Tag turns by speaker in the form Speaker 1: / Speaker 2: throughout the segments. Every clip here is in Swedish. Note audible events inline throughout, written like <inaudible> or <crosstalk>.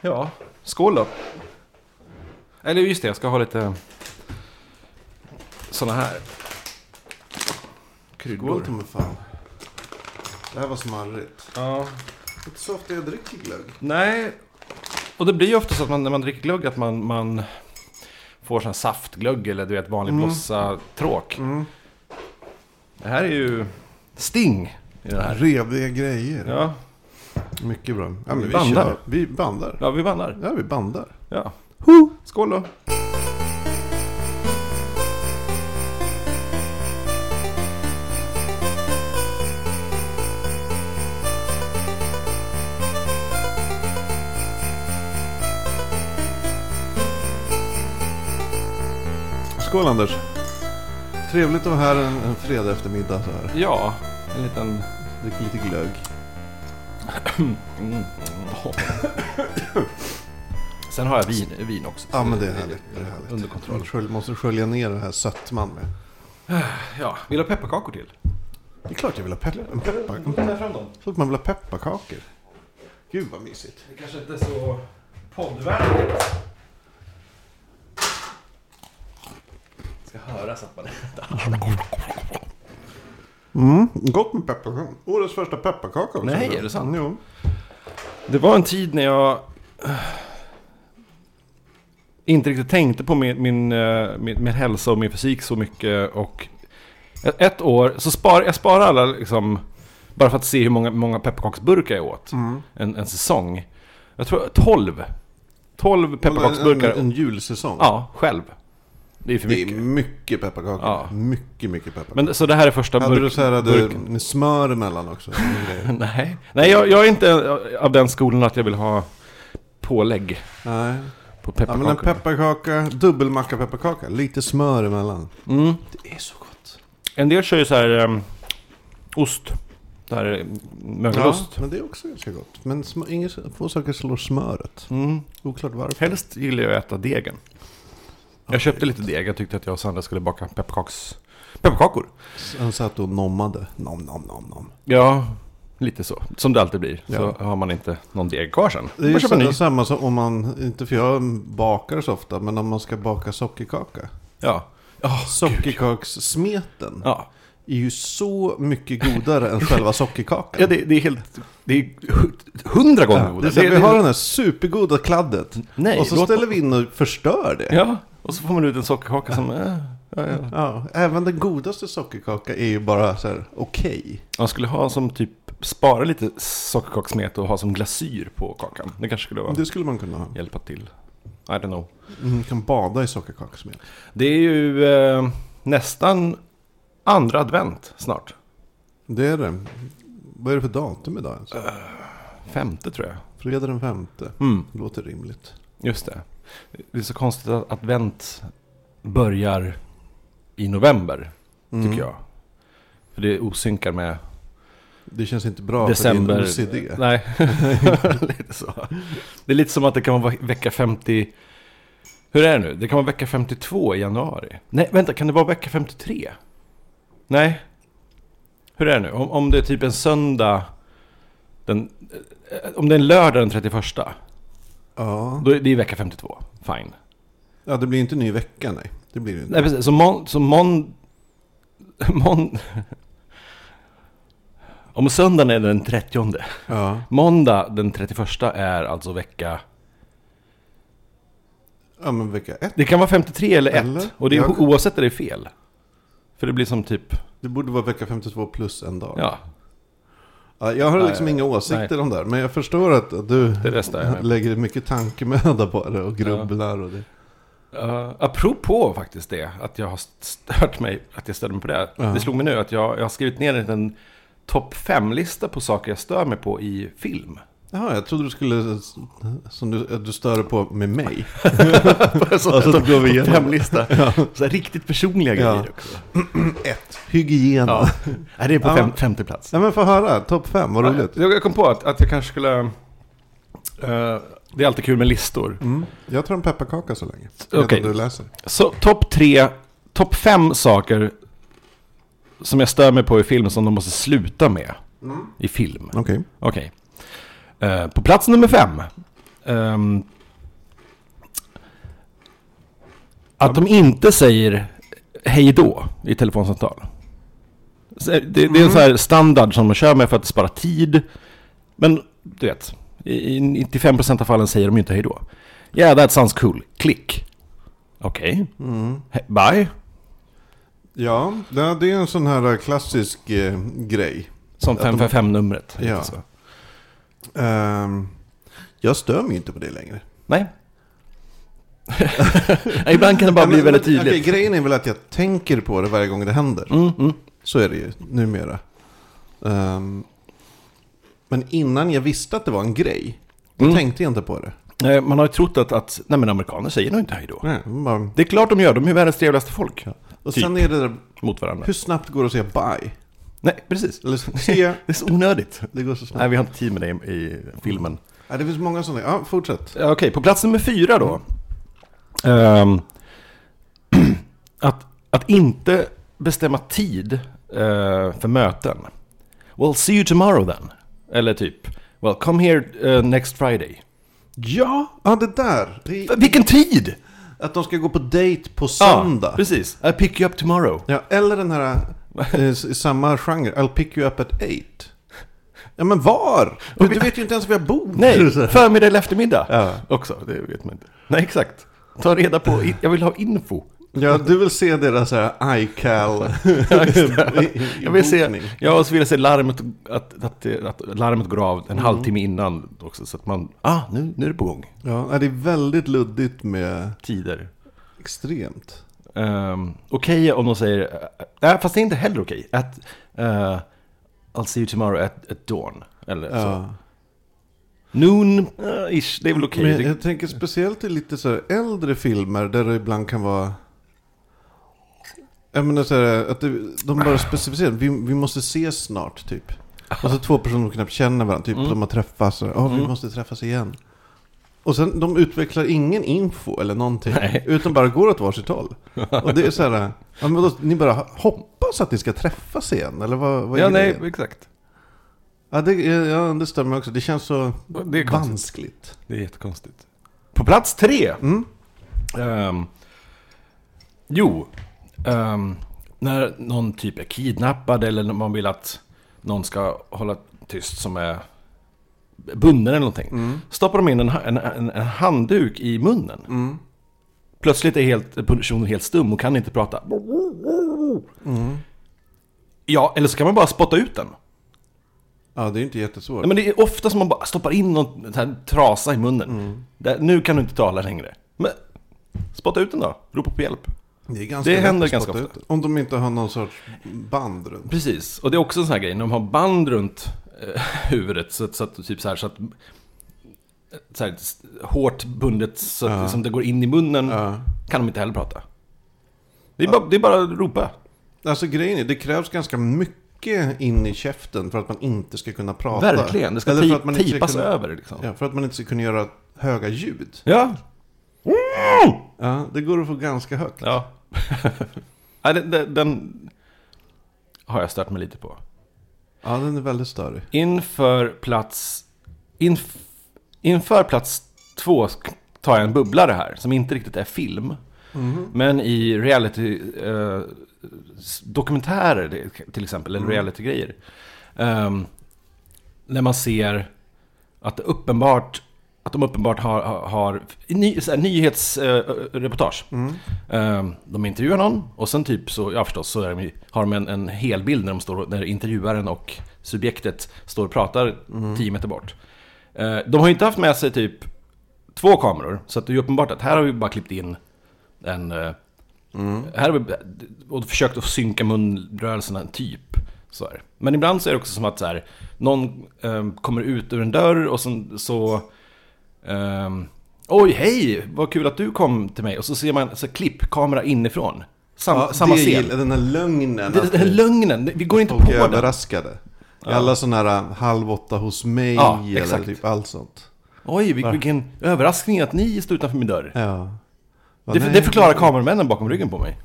Speaker 1: Ja, skål då. Eller just det, jag ska ha lite sådana här
Speaker 2: Skål
Speaker 1: kryddor.
Speaker 2: till mig fan. Det här var smarrigt.
Speaker 1: Ja.
Speaker 2: Inte så ofta jag dricker glögg.
Speaker 1: Nej, och det blir ju ofta så att man, när man dricker glögg att man, man får sån här saftglögg eller du vet vanlig
Speaker 2: Mm.
Speaker 1: blossa-tråk.
Speaker 2: Mm.
Speaker 1: Det här är ju sting i det här.
Speaker 2: Reviga grejer.
Speaker 1: Ja,
Speaker 2: Mycket bra. Ja, men vi
Speaker 1: Bandar.
Speaker 2: kör. Vi bandar.
Speaker 1: ja vi vannar.
Speaker 2: Ja, vi bandar.
Speaker 1: Ja.
Speaker 2: Ho!
Speaker 1: Skål då.
Speaker 2: Skål Anders. Trevligt att vara här en, en fredag eftermiddag så här.
Speaker 1: Ja, en liten...
Speaker 2: Dricker lite glögg.
Speaker 1: Mm. Sen har jag vin, vin också.
Speaker 2: Ja, men det är härligt. Det är härligt.
Speaker 1: Under kontroll.
Speaker 2: Man skölj- måste skölja ner den här sötman med.
Speaker 1: Ja, vill du ha pepparkakor till?
Speaker 2: Det är klart jag vill ha pepp, en pepparkaka.
Speaker 1: Ta fram dem.
Speaker 2: Så att man vill ha pepparkakor. Gud vad mysigt.
Speaker 1: Det kanske inte är så poddvänligt. Ska höras att man
Speaker 2: Mm, gott med pepparkakor. Årets första pepparkaka också.
Speaker 1: Nej, är det sant?
Speaker 2: Jo.
Speaker 1: Det var en tid när jag eh, inte riktigt tänkte på min, min, eh, min, min hälsa och min fysik så mycket. Och ett- ett år, så spar, jag sparar alla liksom, bara för att se hur många, många pepparkaksburkar jag åt
Speaker 2: Mm.
Speaker 1: en, en säsong. Jag tror 12. 12 pepparkaksburkar.
Speaker 2: En, en, en julsäsong.
Speaker 1: Ja, själv. Det är för
Speaker 2: Det är
Speaker 1: mycket.
Speaker 2: mycket pepparkakor.
Speaker 1: Ja.
Speaker 2: Mycket, mycket pepparkakor.
Speaker 1: Men, så det här är första
Speaker 2: Hade du
Speaker 1: burken.
Speaker 2: så här hade,
Speaker 1: burken.
Speaker 2: med smör emellan också?
Speaker 1: <laughs>
Speaker 2: Nej.
Speaker 1: Nej, Nej jag, jag är inte av den skolan att jag vill ha pålägg
Speaker 2: Nej.
Speaker 1: på
Speaker 2: Ja, men en
Speaker 1: pepparkakor.
Speaker 2: pepparkaka, dubbelmacka pepparkaka, lite smör emellan.
Speaker 1: mm.
Speaker 2: Det är så gott.
Speaker 1: En del kör ju så här ehm, ost. Det här
Speaker 2: ehm,
Speaker 1: är
Speaker 2: Ja,
Speaker 1: mögelost.
Speaker 2: men det är också ganska gott. Men sm- inget, få saker slår smöret.
Speaker 1: Mm.
Speaker 2: Oklart varför.
Speaker 1: Helst gillar jag att äta degen. Jag köpte lite deg. Jag tyckte att jag och Sandra skulle baka pepparkaks... pepparkakor.
Speaker 2: Han satt och nommade. Nom, nom, nom, nom.
Speaker 1: Ja, lite så. Som det alltid blir.
Speaker 2: Ja.
Speaker 1: Så har man inte någon deg kvar sen.
Speaker 2: Det är
Speaker 1: Man
Speaker 2: ju
Speaker 1: köper en ny.
Speaker 2: samma, samma som om man, inte för jag bakar så ofta, men om man ska baka sockerkaka.
Speaker 1: Ja. Oh,
Speaker 2: Sockerkakssmeten
Speaker 1: Ja.
Speaker 2: är ju så mycket godare
Speaker 1: <laughs>
Speaker 2: än själva sockerkakan.
Speaker 1: Ja, det, det är helt... Det är hu- hundra gånger
Speaker 2: Ja, det är
Speaker 1: godare.
Speaker 2: så här,
Speaker 1: Det-
Speaker 2: vi
Speaker 1: det-
Speaker 2: har den här supergoda kladdet.
Speaker 1: Nej,
Speaker 2: och så
Speaker 1: låt-
Speaker 2: ställer vi in och förstör det.
Speaker 1: Ja, och så får man ut en sockerkaka som... Äh, ja, ja.
Speaker 2: Ja, även den godaste sockerkaka är ju bara så här okej.
Speaker 1: Man skulle ha som typ... Spara lite sockerkaksmet och ha som glasyr på kakan. Det kanske skulle vara,
Speaker 2: Det skulle man kunna ha.
Speaker 1: hjälpa till. I don't know.
Speaker 2: Man kan bada i sockerkakssmet.
Speaker 1: Det är ju eh, nästan andra advent snart.
Speaker 2: Det är det. Vad är det för datum idag ens?
Speaker 1: Äh. Femte tror jag.
Speaker 2: Fredag den femte.
Speaker 1: Mm,
Speaker 2: Låter rimligt.
Speaker 1: just det. Det är så konstigt att advent börjar i november,
Speaker 2: Mm.
Speaker 1: tycker jag. För det osynkar med
Speaker 2: Det känns inte bra
Speaker 1: December.
Speaker 2: för din OCD.
Speaker 1: Nej,
Speaker 2: <laughs>
Speaker 1: lite så. Det är lite som att det kan vara vecka 50... Hur är det nu? Det kan vara vecka 52 i januari. Nej, vänta, kan det vara vecka 53? Nej. Hur är det nu? Om, om det är typ en söndag... Den, eh, om det är en lördag den 31,
Speaker 2: Ja.
Speaker 1: då är det är vecka 52. Fine.
Speaker 2: ja, det blir inte ny vecka nej. Det blir det inte.
Speaker 1: Nej, precis. Så mån... Så <laughs> mån, mån <laughs> om söndagen är den 30
Speaker 2: Ja.
Speaker 1: Måndag den 31 är alltså vecka...
Speaker 2: ja, men vecka ett.
Speaker 1: Det kan vara 53 eller 1.
Speaker 2: Eller?
Speaker 1: Och det är,
Speaker 2: Jag-
Speaker 1: oavsett är det fel. För det blir som typ...
Speaker 2: Det borde vara vecka 52 plus en dag.
Speaker 1: Ja,
Speaker 2: Ja, jag har
Speaker 1: Nej,
Speaker 2: liksom inga åsikter om det här. Men jag förstår att att du
Speaker 1: det restar jag med.
Speaker 2: lägger mycket tankemöda på det och grubblar. Och det.
Speaker 1: Uh, apropå faktiskt det, att jag har stört mig, att jag störde mig på det.
Speaker 2: Ja.
Speaker 1: Det slog mig nu att jag, jag har skrivit ner en liten topp 5-lista på saker jag stör mig på i film.
Speaker 2: Jaha, jag trodde du skulle, som du, att du stör dig på
Speaker 1: <laughs>
Speaker 2: med mig. Och så går vi igenom.
Speaker 1: Femlista. <laughs> Så här riktigt personliga
Speaker 2: Ja.
Speaker 1: grejer också.
Speaker 2: Ett, hygien. Ja.
Speaker 1: Ja. <laughs> Nej, det är på
Speaker 2: Ja.
Speaker 1: fem, femte plats.
Speaker 2: Nej men få höra, topp fem, vad roligt.
Speaker 1: Jag jag kom på att, att jag kanske skulle... eh, det är alltid kul med listor.
Speaker 2: Mm. Jag tar en pepparkaka så länge.
Speaker 1: Okej.
Speaker 2: Medan du läser.
Speaker 1: Så topp tre, topp fem saker som jag stör mig på i film som de måste sluta med i film.
Speaker 2: Okej.
Speaker 1: Okej. Eh, på plats nummer fem ehm, att de inte säger hej då i telefonsamtal. Så Det, det är en sån
Speaker 2: Mm.
Speaker 1: här standard som de kör med för att spara tid. Men du vet, i i 95% av fallen säger de ju inte hej då. Yeah, that sounds cool. Klick. Okej.
Speaker 2: Mm.
Speaker 1: He- Bye.
Speaker 2: Ja, det det är en sån här klassisk eh, grej.
Speaker 1: Som
Speaker 2: Att de-
Speaker 1: 555-numret.
Speaker 2: Ja. Ehm, jag stör mig inte på det längre.
Speaker 1: Nej. <laughs> Nej, Ibland kan det bara
Speaker 2: Nej,
Speaker 1: bli
Speaker 2: men-
Speaker 1: väldigt
Speaker 2: men-
Speaker 1: tydligt.
Speaker 2: okej, grejen är väl att jag tänker på det varje gång det händer.
Speaker 1: Mm, mm.
Speaker 2: Så är det ju numera. Ehm, men innan jag visste att det var en grej, då
Speaker 1: Mm.
Speaker 2: tänkte jag inte på det.
Speaker 1: Eh, Man har ju trott att, att nej, men amerikaner säger nog inte hej då.
Speaker 2: Nej, bara,
Speaker 1: Det är klart de gör, de är världens trevligaste folk
Speaker 2: och
Speaker 1: Typ.
Speaker 2: sen är det där,
Speaker 1: mot varandra.
Speaker 2: hur snabbt går det att säga bye?
Speaker 1: Nej, precis.
Speaker 2: Eller
Speaker 1: <laughs>
Speaker 2: se,
Speaker 1: Det är så onödigt.
Speaker 2: det går så snabbt.
Speaker 1: Nej, vi har inte tid med det i, i filmen.
Speaker 2: Ja, det finns många sådana. Ja, fortsätt.
Speaker 1: Ja, Okej, på plats nummer fyra då. Ehm, <clears throat> att, att inte bestämma tid eh, för möten. Well, see you tomorrow then. Eller typ, well, come here eh, next Friday.
Speaker 2: Ja, ja det där. Det är,
Speaker 1: Vilken tid!
Speaker 2: att de ska gå på dejt på söndag.
Speaker 1: Ja, precis. I pick you up tomorrow.
Speaker 2: Ja, eller den här eh,
Speaker 1: <laughs>
Speaker 2: i samma genre, I'll pick you up at eight. Ja men var? Du, du vet ju inte ens var jag bor.
Speaker 1: Nej,
Speaker 2: <laughs>
Speaker 1: förmiddag eller eftermiddag.
Speaker 2: Ja.
Speaker 1: Också, det vet man inte. Nej, exakt. Ta reda <laughs> på, jag vill ha info.
Speaker 2: Ja, du vill se deras så här iCal
Speaker 1: <laughs>
Speaker 2: <laughs>
Speaker 1: Jag vill se,
Speaker 2: bokning.
Speaker 1: ja, och så vill jag se larmet, att, att, att larmet går av en halvtimme innan också. Så att man, ah, nu, nu är det på gång.
Speaker 2: Ja, nej, det är väldigt luddigt med
Speaker 1: Tider.
Speaker 2: extremt.
Speaker 1: Um, okej om de säger, eh, nej fast det är inte heller okej. Att, eh, I'll see you tomorrow at, at dawn. Eller så.
Speaker 2: Ja.
Speaker 1: Noon, eh, ish, det är väl okej.
Speaker 2: Men
Speaker 1: Det-
Speaker 2: jag tänker speciellt i lite så här äldre filmer där det ibland kan vara... Jag menar så här, att det, de bara specificerar, vi, vi måste ses snart typ. Och så två personer som knappt känner varandra,
Speaker 1: Mm.
Speaker 2: typ de har träffats, och, oh, vi måste träffas igen. Och sen de utvecklar ingen info eller någonting,
Speaker 1: Nej.
Speaker 2: utan bara går åt
Speaker 1: <laughs>
Speaker 2: varsitt håll. Och det är så här, ja, men då, ni bara hoppas att ni ska träffas igen, eller vad, vad är
Speaker 1: Ja, nej,
Speaker 2: grejen?
Speaker 1: exakt.
Speaker 2: Ja, det, ja, det stämmer också, det känns så
Speaker 1: Det är konstigt.
Speaker 2: vanskligt.
Speaker 1: Det är jättekonstigt. På plats tre. Ehm, jo, ehm, när någon typ är kidnappad eller när man vill att någon ska hålla tyst som är bunden eller någonting. Stoppar de in en, ha- en, en, en handduk i munnen. Plötsligt är helt, personen helt stum och kan inte prata. Ja, eller så kan man bara spotta ut den.
Speaker 2: Ja, det är inte jättesvårt.
Speaker 1: Nej, men det är ofta som man bara stoppar in någon så här trasa i munnen. Där, nu kan du inte tala längre. Men spotta ut den då. Ropa på hjälp.
Speaker 2: Det, är ganska
Speaker 1: Det
Speaker 2: lätt
Speaker 1: händer
Speaker 2: att
Speaker 1: ganska
Speaker 2: spotta
Speaker 1: ofta.
Speaker 2: ut. Om de inte har någon sorts band runt.
Speaker 1: Precis. Och det är också en sån här grej. När de har band runt eh, <laughs> huvudet. Så, att- så att, typ så här så att... Så här, s- hårt bundet så att
Speaker 2: Ja.
Speaker 1: liksom det går in i munnen.
Speaker 2: Ja.
Speaker 1: Kan de inte heller prata. Det är, bara, det är bara att ropa.
Speaker 2: Alltså grejen är, det krävs ganska mycket in i käften för att man inte ska kunna prata.
Speaker 1: Verkligen. Det ska
Speaker 2: Eller för att
Speaker 1: te-
Speaker 2: man inte ska
Speaker 1: tejpas
Speaker 2: kunna-
Speaker 1: över liksom. Ja.
Speaker 2: Ja, för att man inte ska kunna göra höga ljud.
Speaker 1: ja. Mm!
Speaker 2: Ja, det går att få ganska högt.
Speaker 1: Ja. <laughs> Nej, den, den, den har jag stört mig lite på.
Speaker 2: Ja, den är väldigt störig.
Speaker 1: Inför plats... Inf, inför plats två sk- tar jag en bubblare här, som inte riktigt är film. Men i reality... Eh, s- dokumentärer det- till exempel, eller realitygrejer. ehm, när man ser att det uppenbart... Att de uppenbart har, har- har i ny, så här, eh, nyhetsreportage.
Speaker 2: Mm.
Speaker 1: Ehm, de intervjuar någon och sen typ så, ja förstås, så är de, ju- har de en, en helbild när, de står, och- när intervjuaren och subjektet står och pratar
Speaker 2: Mm.
Speaker 1: tio meter bort. Eh, de har ju inte haft med sig typ två kameror, så att det är ju uppenbart att här har vi bara klippt in en... eh,
Speaker 2: Mm.
Speaker 1: Här har vi och försökt att synka munrörelserna, typ. Så här. Men ibland så är det också som att så här, någon eh, kommer ut ur en dörr och sen, så... Ehm, Oj, hej! Vad kul att du kom till mig. Och så ser man så här, klipp, kamera inifrån. Sam,
Speaker 2: Ja,
Speaker 1: samma
Speaker 2: det
Speaker 1: scen.
Speaker 2: gillar- Den här lögnen.
Speaker 1: Det- Den här lögnen, det- vi går inte
Speaker 2: folk är
Speaker 1: på den.
Speaker 2: överraskade. Alla sådana här äh, halv åtta hos mig
Speaker 1: Ja,
Speaker 2: eller
Speaker 1: exakt.
Speaker 2: typ allt sånt.
Speaker 1: Oj, vil- vilken överraskning att ni står utanför min dörr.
Speaker 2: Ja. Ja,
Speaker 1: Det,
Speaker 2: nej.
Speaker 1: det förklarar kameramännen bakom ryggen på mig.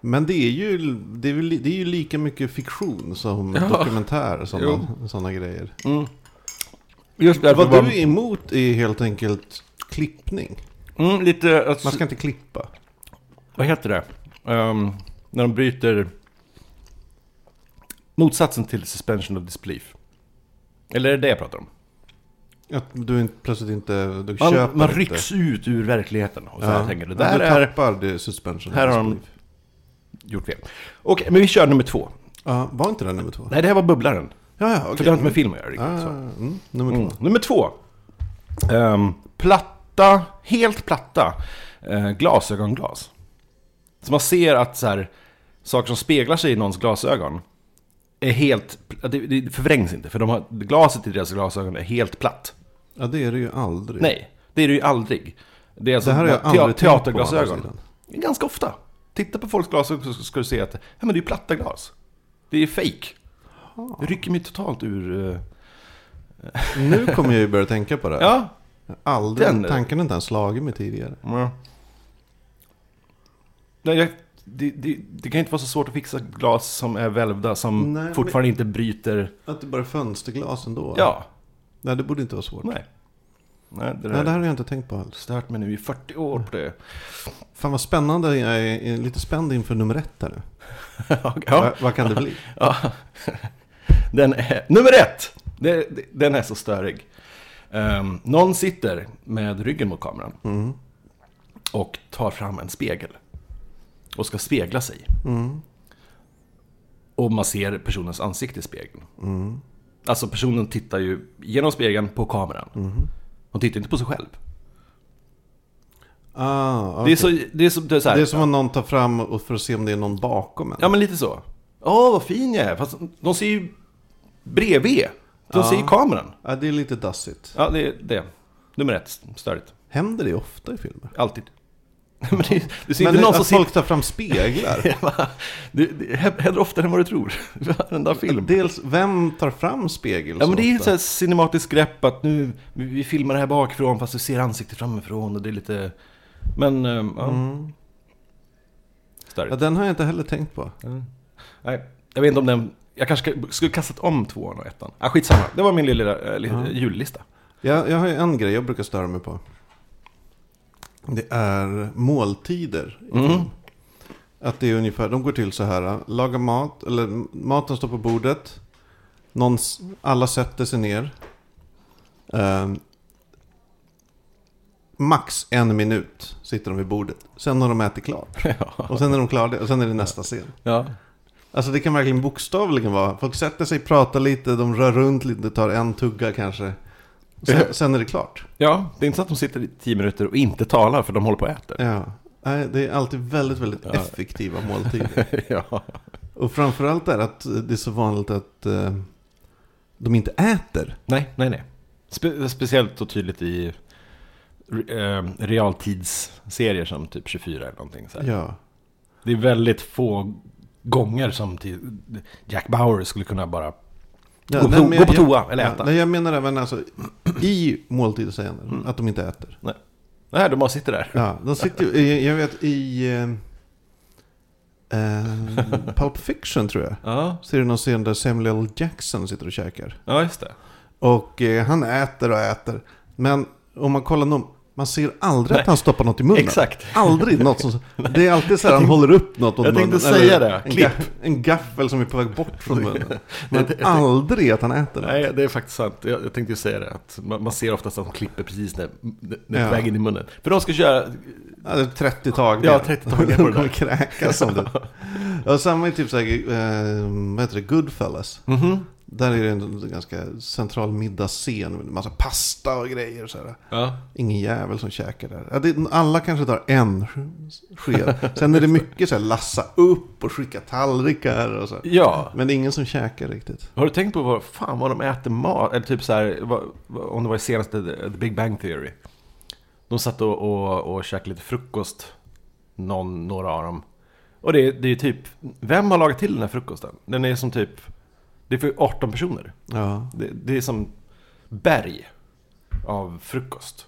Speaker 2: Men det är ju, det är, väl- det är ju lika mycket fiktion som dokumentär, sådana, sådana grejer.
Speaker 1: Just därför
Speaker 2: Vad
Speaker 1: var...
Speaker 2: du är emot är helt enkelt klippning.
Speaker 1: Mm, lite... Att...
Speaker 2: Man ska inte klippa.
Speaker 1: Vad heter det? Ehm, när de bryter... Motsatsen till suspension of disbelief. Eller är det det jag pratar om?
Speaker 2: Att du inte, plötsligt inte, du köper
Speaker 1: Man, man
Speaker 2: inte.
Speaker 1: rycks ut ur verkligheten. Och så
Speaker 2: Ja.
Speaker 1: jag tänker, det
Speaker 2: Att
Speaker 1: där
Speaker 2: du
Speaker 1: är...
Speaker 2: tappar det suspension.
Speaker 1: Här har de- Gjort fel. Okej, men vi kör nummer två.
Speaker 2: Ja, var inte det nummer två?
Speaker 1: Nej, det här var bubblaren.
Speaker 2: Ja, ja,
Speaker 1: För
Speaker 2: okej.
Speaker 1: det har inte med film att göra riktigt.
Speaker 2: Ah,
Speaker 1: Så.
Speaker 2: mm, nummer
Speaker 1: Mm.
Speaker 2: två.
Speaker 1: Nummer två. Ehm, platta, helt platta eh, glasögonglas. Så man ser att så här, saker som speglar sig i någons glasögon är helt... att Det, det förvrängs inte, för de har, glaset i deras glasögon är helt platt.
Speaker 2: Ja, det är det ju aldrig.
Speaker 1: Nej, det är det ju aldrig. Det är alltså
Speaker 2: Det här har jag
Speaker 1: te-
Speaker 2: aldrig tänkt på, å andra
Speaker 1: teaterglasögon.
Speaker 2: sidan.
Speaker 1: Ganska ofta. Titta på folks glasögon så ska du se att ja, men det är ju platta glas. Det är fake.
Speaker 2: Ah.
Speaker 1: Det rycker mig totalt ur... eh,
Speaker 2: Nu kommer jag ju börja tänka på det. här.
Speaker 1: Ja,
Speaker 2: aldrig,
Speaker 1: den-
Speaker 2: tanken har inte ens slagit mig tidigare.
Speaker 1: Mm. Nej, jag, det, det, det kan inte vara så svårt att fixa glas som är välvda som
Speaker 2: Nej, men-
Speaker 1: fortfarande inte bryter.
Speaker 2: Att det bara är fönsterglas ändå.
Speaker 1: Ja,
Speaker 2: Nej, det borde inte vara svårt.
Speaker 1: nej. Nej, det där
Speaker 2: Nej, det
Speaker 1: har
Speaker 2: här har jag inte tänkt på alls.
Speaker 1: stört mig nu i 40 år på <laughs> det.
Speaker 2: Fan vad spännande, jag är, är lite spänd inför nummer ett här nu.
Speaker 1: ja,
Speaker 2: Vad, vad kan det
Speaker 1: <laughs>
Speaker 2: bli?
Speaker 1: ja. Den är, nummer ett! Det, det, den är så störig. Ehm, någon sitter med ryggen mot kameran
Speaker 2: Mm.
Speaker 1: och tar fram en spegel. Och ska spegla sig.
Speaker 2: Mm.
Speaker 1: Och man ser personens ansikte i spegeln.
Speaker 2: Mm.
Speaker 1: Alltså personen tittar ju genom spegeln på kameran.
Speaker 2: Mm.
Speaker 1: Hon tittar inte på sig själv.
Speaker 2: Ah,
Speaker 1: Det
Speaker 2: okej.
Speaker 1: är så, det är så, det är så här.
Speaker 2: det är som om någon tar fram och för att se om det är någon bakom en.
Speaker 1: Ja men lite så. Åh vad fin jag är. Fast de ser ju bredvid. De
Speaker 2: Ja.
Speaker 1: ser ju kameran.
Speaker 2: Ja, Ah, det är lite dassigt.
Speaker 1: Ja det är det. Nummer ett. Störigt.
Speaker 2: Händer det ofta i filmer?
Speaker 1: Alltid. <laughs> men det, du ser
Speaker 2: Men
Speaker 1: inte någon som
Speaker 2: att folk
Speaker 1: sitter...
Speaker 2: tar fram speglar.
Speaker 1: <laughs> Det, det händer oftare än vad du tror. <laughs> Varenda film.
Speaker 2: Dels, vem tar fram spegel
Speaker 1: Ja men det är ju ett
Speaker 2: ofta?
Speaker 1: sånt här cinematiskt grepp att nu, vi, vi filmar det här bakifrån fast du ser ansiktet framifrån och det är lite... Men, ehm, ja. Störigt.
Speaker 2: Ja, den har jag inte heller tänkt på.
Speaker 1: Nej, jag vet inte om den... Jag kanske ska- skulle kastat om tvåan och ettan. Ah, skitsamma, det var min lilla eh, li-
Speaker 2: Ja.
Speaker 1: <laughs> jullista.
Speaker 2: Jag, jag har ju en grej jag brukar störa mig på. Det är måltider. i
Speaker 1: Mm.
Speaker 2: film. Att det är ungefär, de går till så här, laga mat, eller maten står på bordet. Någon, s- alla sätter sig ner. Ehm, max en minut sitter de vid bordet. Sen har de ätit klart. Och sen är de klara, och sen är det nästa scen.
Speaker 1: Ja.
Speaker 2: Alltså det kan verkligen bokstavligen vara. Folk sätter sig, pratar lite, de rör runt lite, tar en tugga kanske. Sen, sen är det klart.
Speaker 1: ja, det är inte så att de sitter i tio minuter och inte talar för de håller på och äter.
Speaker 2: Ja. Nej, det är alltid väldigt, väldigt
Speaker 1: Ja.
Speaker 2: effektiva måltider. <laughs>
Speaker 1: ja.
Speaker 2: Och framförallt är att det är så vanligt att eh, de inte äter.
Speaker 1: Nej, nej, nej. Spe- speciellt och tydligt i re- ehm, realtidsserier som typ 24 eller någonting. Så här.
Speaker 2: Ja.
Speaker 1: Det är väldigt få gånger som till Jack Bauer skulle kunna bara
Speaker 2: Ja,
Speaker 1: gå, på
Speaker 2: nej,
Speaker 1: to-
Speaker 2: men
Speaker 1: gå
Speaker 2: jag-
Speaker 1: på toa
Speaker 2: Ja,
Speaker 1: eller äta.
Speaker 2: nej, jag menar även alltså i måltidssägandet,
Speaker 1: Mm.
Speaker 2: att de inte äter.
Speaker 1: nej, de bara sitter där.
Speaker 2: Ja, de sitter ju, jag- jag vet i eh, eh, Pulp Fiction tror jag.
Speaker 1: Ja,
Speaker 2: Ser du någon scen där Samuel L. Jackson sitter och käkar?
Speaker 1: ja just det.
Speaker 2: Och eh, han äter och äter. Men om man kollar någon, man ser aldrig
Speaker 1: Nej.
Speaker 2: att han stoppar något i munnen.
Speaker 1: Exakt.
Speaker 2: Aldrig något som... Det är alltid så här, han håller upp något åt
Speaker 1: jag
Speaker 2: munnen.
Speaker 1: tänkte säga
Speaker 2: eller
Speaker 1: det.
Speaker 2: En,
Speaker 1: Klipp.
Speaker 2: gaff, en gaffel som är på väg bort från munnen.
Speaker 1: <laughs> Jag
Speaker 2: Men
Speaker 1: tänkte-
Speaker 2: aldrig att han äter det.
Speaker 1: Nej, det är faktiskt sant. Jag, jag tänkte ju säga det. Att man, man ser oftast att de klipper precis när, när när
Speaker 2: Ja.
Speaker 1: vägen i munnen. För de ska köra...
Speaker 2: Ja, det är 30 Alltså, tag.
Speaker 1: Ja, 30 tag på det
Speaker 2: De
Speaker 1: där.
Speaker 2: kommer kräkas om det.
Speaker 1: <laughs>
Speaker 2: Ja, samma är typ så här, eh, vad heter det, Goodfellas.
Speaker 1: Mhm.
Speaker 2: Där är det en ganska central middagsscen med massa pasta och grejer. och Så här.
Speaker 1: Ja.
Speaker 2: Ingen jävel som käkar där. Ja, det, alla kanske tar en sked. Sen är det mycket så här lassa upp och skicka tallrikar och så.
Speaker 1: ja.
Speaker 2: Men det är ingen som käkar riktigt.
Speaker 1: Har du tänkt på vad fan vad de äter mat? Eller typ så här, vad, vad- om det var i senaste The The Big Bang Theory. De satt och, och, och käkade lite frukost, någon, några av dem. Och det, är- det är typ, vem har lagat till den här frukosten? Den är som typ, det är för 18 personer.
Speaker 2: Ja.
Speaker 1: Det, det är som berg av frukost.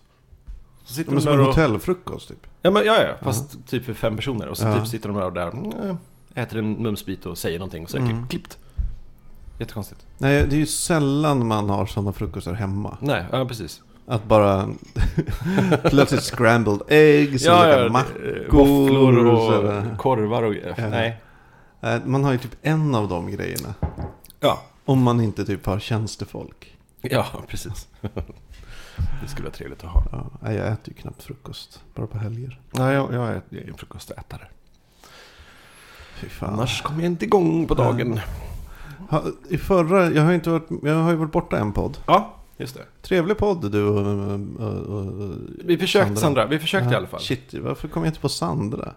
Speaker 1: Så sitter
Speaker 2: De är som
Speaker 1: där
Speaker 2: en
Speaker 1: och-
Speaker 2: hotellfrukost typ.
Speaker 1: Ja, men, ja, ja. Fast typ för fem personer. Och så
Speaker 2: Ja.
Speaker 1: typ sitter de där och där, mm, äter en mumsbit och säger någonting och så är det
Speaker 2: Mm.
Speaker 1: klippt. Jättekonstigt.
Speaker 2: Nej, det är ju sällan man har sådana frukostar hemma.
Speaker 1: Nej, ja precis.
Speaker 2: Att bara <laughs> plötsligt scrambled eggs och lite mack-
Speaker 1: eh, Våfflor
Speaker 2: och sådär.
Speaker 1: och korvar och grejer.
Speaker 2: Ja.
Speaker 1: Nej.
Speaker 2: Eh, Man har ju typ en av de grejerna.
Speaker 1: Ja.
Speaker 2: Om man inte typ har tjänstefolk.
Speaker 1: Ja, precis. <laughs> Det skulle vara trevligt att ha.
Speaker 2: Ja, nej, jag äter ju knappt frukost. Bara på helger.
Speaker 1: Nej, jag, jag är jag är en frukostätare.
Speaker 2: Fy fan.
Speaker 1: Annars kommer jag inte igång på dagen.
Speaker 2: Ha, I förra, jag har, ju inte varit, jag har ju varit borta en podd.
Speaker 1: Ja, just det.
Speaker 2: Trevlig podd du och... och, och, och
Speaker 1: Vi försökte Sandra,
Speaker 2: Sandra.
Speaker 1: vi försökte i alla fall.
Speaker 2: Shit, varför kom jag inte på Sandra?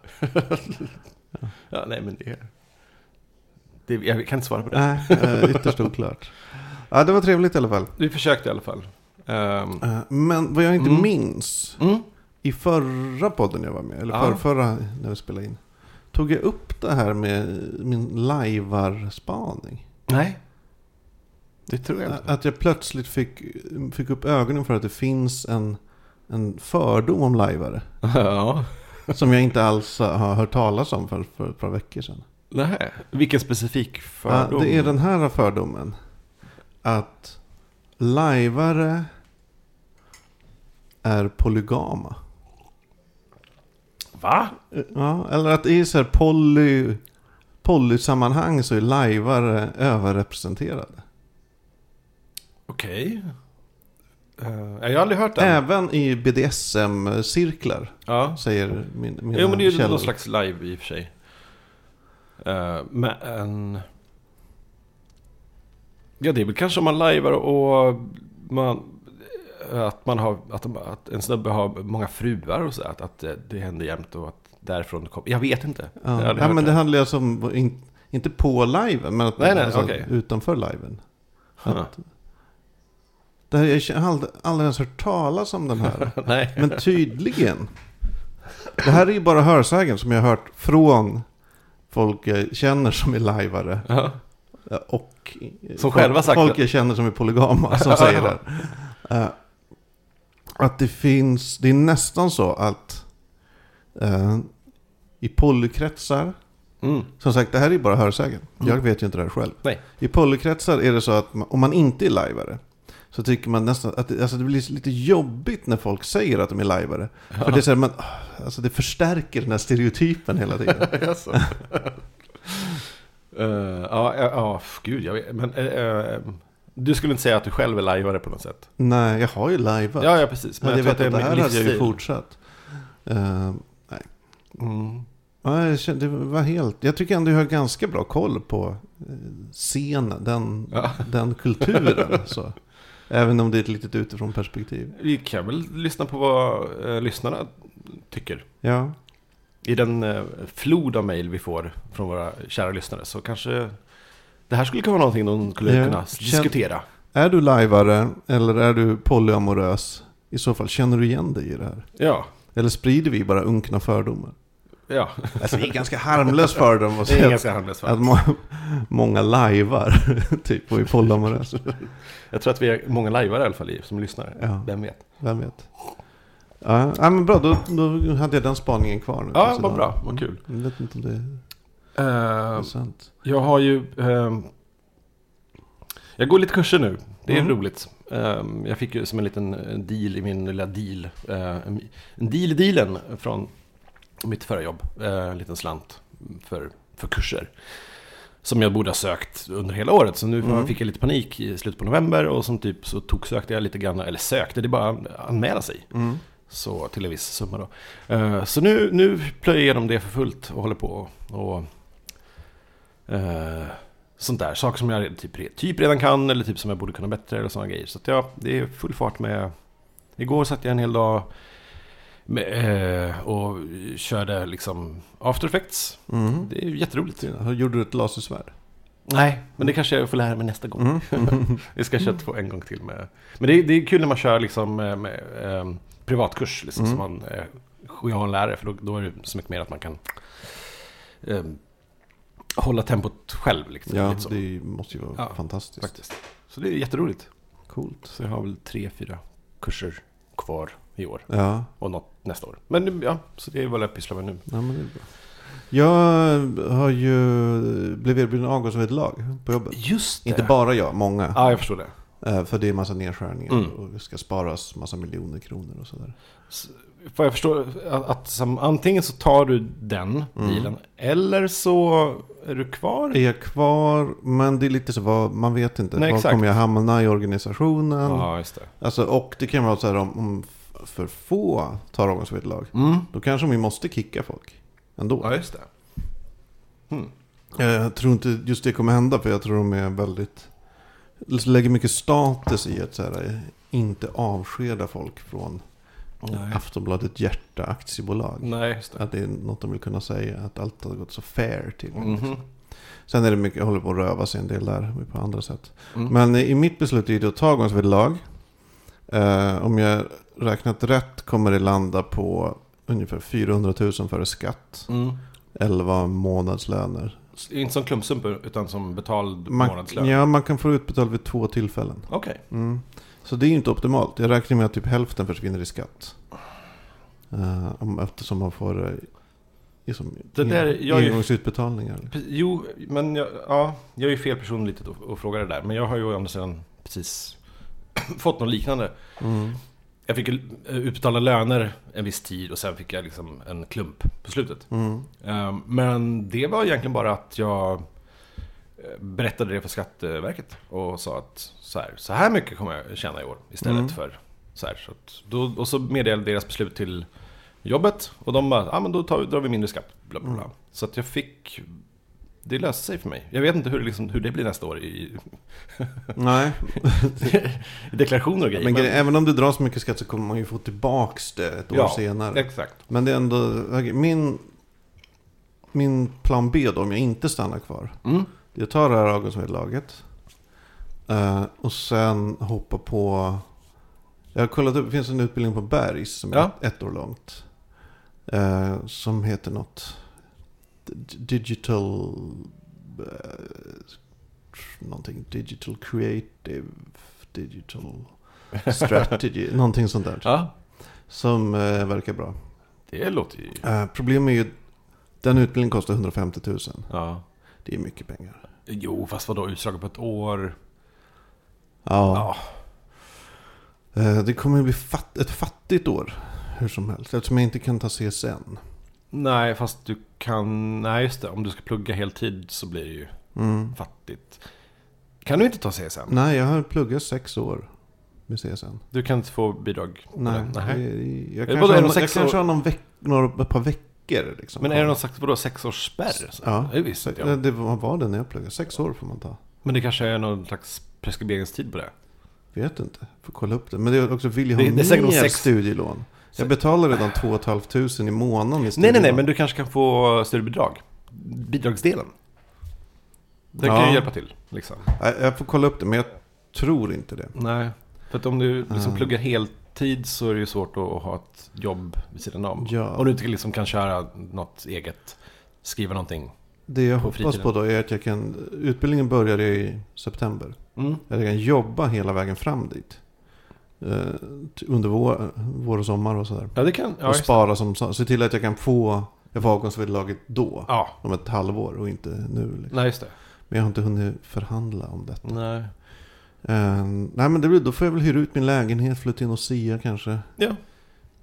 Speaker 1: Ja, nej, men det, det... Jag kan inte svara på det.
Speaker 2: Nej, eh, ytterst oklart. <laughs> Ja, det var trevligt i alla fall.
Speaker 1: Vi försökte i alla fall. Ehm,
Speaker 2: Eh, Men vad jag inte
Speaker 1: Mm.
Speaker 2: minns,
Speaker 1: mm.
Speaker 2: i förra podden jag var med, eller
Speaker 1: Ja.
Speaker 2: förrförra när vi spelade in, tog jag upp det här med min lajvarspaning.
Speaker 1: Nej. Det tror jag inte.
Speaker 2: Att jag plötsligt fick, fick upp ögonen för att det finns en, en fördom om lajvare.
Speaker 1: <laughs> Ja.
Speaker 2: Som jag inte alls har hört talas om för, för ett par veckor sedan.
Speaker 1: Nej. Vilken specifik
Speaker 2: Ja,
Speaker 1: fördom?
Speaker 2: det är den här fördomen. Att lajvare är polygama.
Speaker 1: Va?
Speaker 2: Ja, eller att i så här poly, polysammanhang så är lajvare överrepresenterade.
Speaker 1: Okej. Eh, jag har aldrig hört den.
Speaker 2: Även i BDSM-cirklar,
Speaker 1: ja.
Speaker 2: säger min, mina
Speaker 1: Jo men det är ju
Speaker 2: källor.
Speaker 1: någon slags live i och för sig. Eh, men... Ja det är väl kanske om man lajvar och man... Att, man har, att, att en snubbe har många fruar och så. Att, att det händer jämt och att därifrån det kommer... Jag vet inte. Jag har
Speaker 2: Ja,
Speaker 1: aldrig
Speaker 2: ja
Speaker 1: hört
Speaker 2: men det
Speaker 1: det.
Speaker 2: handlar alltså om, in, inte på liven, men att,
Speaker 1: Nej, nej,
Speaker 2: alltså,
Speaker 1: okej.
Speaker 2: utanför liven.
Speaker 1: Huh.
Speaker 2: Det här, jag har aldrig, aldrig ens hört talas om den här.
Speaker 1: <laughs> Nej.
Speaker 2: Men tydligen. Det här är ju bara hörsägen som jag har hört från folk jag känner som är lajvare.
Speaker 1: Ja.
Speaker 2: eh, Och eh,
Speaker 1: Som
Speaker 2: folk,
Speaker 1: själva sagt
Speaker 2: folk
Speaker 1: det.
Speaker 2: jag känner som är polygama som säger det.
Speaker 1: <laughs>
Speaker 2: Eh, Att det finns, det är nästan så att eh, i polykretsar,
Speaker 1: Mm.
Speaker 2: som sagt det här är ju bara hörsägen.
Speaker 1: Mm.
Speaker 2: Jag vet ju inte det här själv.
Speaker 1: Nej.
Speaker 2: I polykretsar är det så att man, om man inte är lajvare så tycker man nästan att det, alltså det blir lite jobbigt när folk säger att de är lajvare. För det, är så här, man, alltså det förstärker den här stereotypen
Speaker 1: <laughs>
Speaker 2: hela tiden.
Speaker 1: Jaså? Eh, Ja, ja, ja, f- gud jag vet. Men eh, eh, du skulle inte säga att du själv är lajvare på något sätt?
Speaker 2: Nej, jag har ju lajvat.
Speaker 1: Ja, ja precis.
Speaker 2: men jag vet
Speaker 1: tror
Speaker 2: att det här
Speaker 1: en
Speaker 2: hade jag ju
Speaker 1: livsstil.
Speaker 2: fortsatt. Eh,
Speaker 1: Mm.
Speaker 2: ja, jag kände, det var helt, jag tycker ändå jag har ganska bra koll på eh, scenen, den,
Speaker 1: Ja.
Speaker 2: <laughs> den kulturen. så. Även om det är ett litet utifrån perspektiv.
Speaker 1: Vi kan väl lyssna på vad eh, lyssnarna tycker.
Speaker 2: Ja.
Speaker 1: I den eh, flod av mejl vi får från våra kära lyssnare så kanske det här skulle kunna vara någonting de skulle
Speaker 2: Ja.
Speaker 1: kunna
Speaker 2: Känn-
Speaker 1: diskutera.
Speaker 2: Är du lajvare eller är du polyamorös? I så fall, känner du igen dig i det här?
Speaker 1: Ja,
Speaker 2: Eller sprider vi bara unkna fördomar?
Speaker 1: ja.
Speaker 2: Alltså det är en ganska harmlös fördom att
Speaker 1: Det är
Speaker 2: säga
Speaker 1: ganska harmlöst
Speaker 2: att
Speaker 1: va?
Speaker 2: må- många lajvar <laughs> typ och är polyamorösa.
Speaker 1: Jag tror att vi är många lajvare i alla fall i- som lyssnar.
Speaker 2: Ja.
Speaker 1: Vem vet?
Speaker 2: Vem vet? Ja, ja, men bra, då, då hade jag den spaningen kvar nu.
Speaker 1: Ja, vad bra, vad
Speaker 2: Mm.
Speaker 1: kul.
Speaker 2: Jag vet inte om det är Eh, sant.
Speaker 1: jag har ju... ehm, jag går lite kurser nu. Det är
Speaker 2: Mm.
Speaker 1: roligt. Ehm, jag fick ju som en liten eh, deal i min lilla deal. eh, en en deal i dealen från mitt förra jobb. Eh, en liten slant för, för kurser. Som jag borde ha sökt under hela året. Så nu
Speaker 2: Mm.
Speaker 1: fick jag lite panik i slutet på november. Och som typ så tog, sökte jag lite grann. Eller sökte, det är bara att anmäla sig.
Speaker 2: Mm.
Speaker 1: Så till en viss summa då. Eh, Så nu, nu plöjer jag igenom det för fullt och håller på och... och eh, sånt där. Saker som jag typ, re- typ redan kan eller typ som jag borde kunna bättre eller sådana grejer. Så att ja, det är full fart med... Igår satt jag en hel dag med, eh, och körde liksom After Effects.
Speaker 2: Mm.
Speaker 1: Det är ju jätteroligt. Mm.
Speaker 2: Fina. Gjorde du ett lasersvärd?
Speaker 1: Nej, men det kanske jag får lära mig nästa gång.
Speaker 2: Mm.
Speaker 1: Vi ska köra två en gång till med... Men det är, det är kul när man kör liksom eh, med, ehm, privatkurs, liksom,
Speaker 2: Mm.
Speaker 1: så man eh, sk- har en lärare, för då, då är det så mycket mer att man kan ehm, hålla tempot själv. Liksom,
Speaker 2: <laughs> Ja,
Speaker 1: lite så,
Speaker 2: det måste ju vara
Speaker 1: Ja,
Speaker 2: fantastiskt.
Speaker 1: faktiskt. så det är jätteroligt.
Speaker 2: Coolt.
Speaker 1: Så jag har väl tre, fyra kurser kvar i år
Speaker 2: Ja,
Speaker 1: och något nästa år. Men ja, så det är vad jag pysslar med nu.
Speaker 2: nej, men det är bra. Jag har ju blivit erbjuden avgångsvederlag på jobbet.
Speaker 1: Just det.
Speaker 2: Inte bara jag, många.
Speaker 1: Ja, jag förstår det.
Speaker 2: Eh, För det är massa nedskärningar
Speaker 1: Mm.
Speaker 2: och det ska sparas massa miljoner kronor och sådär.
Speaker 1: S- För jag förstår att, att som, antingen så tar du den
Speaker 2: Mm.
Speaker 1: dealen eller så är du kvar.
Speaker 2: Är jag kvar, men det är lite så, vad, man vet inte.
Speaker 1: Nej,
Speaker 2: var
Speaker 1: exakt.
Speaker 2: kommer jag hamna i organisationen?
Speaker 1: Ja, just det.
Speaker 2: Alltså, och det kan vara så här om, om f- för få tar avgångsvederlag.
Speaker 1: Mm.
Speaker 2: Då kanske vi måste kicka folk ändå.
Speaker 1: Ja, just det.
Speaker 2: Eh, Jag tror inte just det kommer hända för jag tror de är väldigt... liksom Lägger mycket status i att så här, eh, inte avskeda folk från
Speaker 1: Nej.
Speaker 2: Aftonbladet Hjärta Aktiebolag.
Speaker 1: Nej, just det.
Speaker 2: Att det är något de vill kunna säga, att allt har gått så fair till. liksom.
Speaker 1: Mhm.
Speaker 2: Sen är det mycket, håller på att röva sig en del där på andra sätt.
Speaker 1: Mm.
Speaker 2: Men i mitt beslut är ju då att ta avgångsvederlag. Eh, om jag räknat rätt kommer det landa på ungefär 400 000 före skatt.
Speaker 1: Mm.
Speaker 2: 11 månadslöner.
Speaker 1: S- Inte som klumpsump utan som betald
Speaker 2: Man,
Speaker 1: månadslön.
Speaker 2: ja, man kan få utbetalt vid två tillfällen.
Speaker 1: Okej.
Speaker 2: Mm. Så det är ju inte optimalt. Jag räknar med att typ hälften försvinner i skatt. Eh, om- eftersom man får eh, liksom,
Speaker 1: Det där- jag är ju-
Speaker 2: engångsutbetalningar.
Speaker 1: Pre- Jo, men jag, ja, jag är ju fel person lite att, att fråga det där. Men jag har ju å andra sidan precis <coughs> fått något liknande.
Speaker 2: Mm.
Speaker 1: Jag fick ju, eh, utbetala löner en viss tid och sen fick jag liksom en klump på slutet.
Speaker 2: Mm.
Speaker 1: Ehm, Men det var egentligen bara att jag eh, berättade det för Skatteverket och sa att så här, så här mycket kommer jag tjäna i år istället
Speaker 2: Mm.
Speaker 1: för så här. Så att då, och så meddelade jag deras beslut till jobbet och de bara, ah, men då tar, vi- drar vi mindre skatt. Bla, bla, bla. Så att jag fick, det löste sig för mig. Jag vet inte hur, det liksom, hur det blir nästa år i, <laughs>
Speaker 2: Nej,
Speaker 1: i <laughs> deklarationer och grejer.
Speaker 2: men, grejen- även om det dras mycket skatt så kommer man ju få tillbaks det ett år
Speaker 1: Ja,
Speaker 2: senare.
Speaker 1: exakt.
Speaker 2: Men det är ändå, okej, min, min plan B då, om jag inte stannar kvar.
Speaker 1: Mm.
Speaker 2: Jag tar det här avgångsvederlaget. eh, och sen hoppar på... Jag har kollat upp, det finns en utbildning på Bergs som är
Speaker 1: Ja.
Speaker 2: ett år långt. eh, som heter något... D- Digital... eh, någonting. Digital creative.
Speaker 1: <laughs>
Speaker 2: Digital strategy. någonting sånt där.
Speaker 1: Ja,
Speaker 2: Som eh, verkar bra.
Speaker 1: det låter ju...
Speaker 2: Eh, problemet är ju... Den utbildningen kostar 150 000.
Speaker 1: Ja.
Speaker 2: Det är mycket pengar.
Speaker 1: Jo, fast vadå, utslaget på ett år? Ja.
Speaker 2: Eh, Det kommer att bli fatt, ett fattigt år hur som helst. Eftersom jag inte kan ta CSN.
Speaker 1: Nej, fast du kan... Nej, just det. Om du ska plugga heltid så blir det ju
Speaker 2: Mm.
Speaker 1: fattigt. Kan du inte ta CSN?
Speaker 2: Nej, jag har pluggat sex år med CSN.
Speaker 1: Du kan inte få bidrag? på
Speaker 2: Nej,
Speaker 1: den.
Speaker 2: Jag,
Speaker 1: Nej.
Speaker 2: jag,
Speaker 1: Det är
Speaker 2: kanske,
Speaker 1: bara
Speaker 2: har,
Speaker 1: de
Speaker 2: någon- jag
Speaker 1: sex
Speaker 2: kanske
Speaker 1: år-
Speaker 2: har någon veck, några, ett par veckor. Liksom.
Speaker 1: Men är det någon slags vadå, sexårsspärr?
Speaker 2: Ja.
Speaker 1: Det visste inte
Speaker 2: Det,
Speaker 1: jag.
Speaker 2: det var var det när jag pluggade. Sex år får man ta.
Speaker 1: Men det kanske är någon slags preskriberingstid på det?
Speaker 2: Vet inte. Får kolla upp det. Men det är också vill jag ha
Speaker 1: Det- det är säkert de
Speaker 2: mer
Speaker 1: sex-
Speaker 2: studielån. Jag betalar redan 2 500 i månaden i
Speaker 1: Nej,
Speaker 2: studielån.
Speaker 1: nej, nej, men du kanske kan få studiebidrag. Bidragsdelen. Den kan
Speaker 2: Ja.
Speaker 1: ju hjälpa till, liksom.
Speaker 2: Nej, Jag får kolla upp det, men jag tror inte det.
Speaker 1: Nej, för att om du liksom
Speaker 2: Ja.
Speaker 1: pluggar heltid så är det ju svårt att ha ett jobb vid sidan om.
Speaker 2: Ja.
Speaker 1: Om du inte liksom kan köra något eget, skriva någonting.
Speaker 2: Det jag
Speaker 1: På
Speaker 2: hoppas
Speaker 1: fritiden.
Speaker 2: på då är att jag kan... Utbildningen börjar i september.
Speaker 1: Mm.
Speaker 2: Att jag kan jobba hela vägen fram dit. Eh, t- under vår, vår och sommar och sådär.
Speaker 1: Ja, det kan... Ja,
Speaker 2: och
Speaker 1: just-
Speaker 2: spara som sa- Se till att jag kan få... Jag får avgångsvederlaget då.
Speaker 1: ja.
Speaker 2: Om ett halvår och inte nu. Liksom.
Speaker 1: Nej, just det.
Speaker 2: Men jag har inte hunnit förhandla om detta.
Speaker 1: Nej.
Speaker 2: Eh, nej men det blir, då får jag väl hyra ut min lägenhet, flytta in och sia kanske.
Speaker 1: Ja.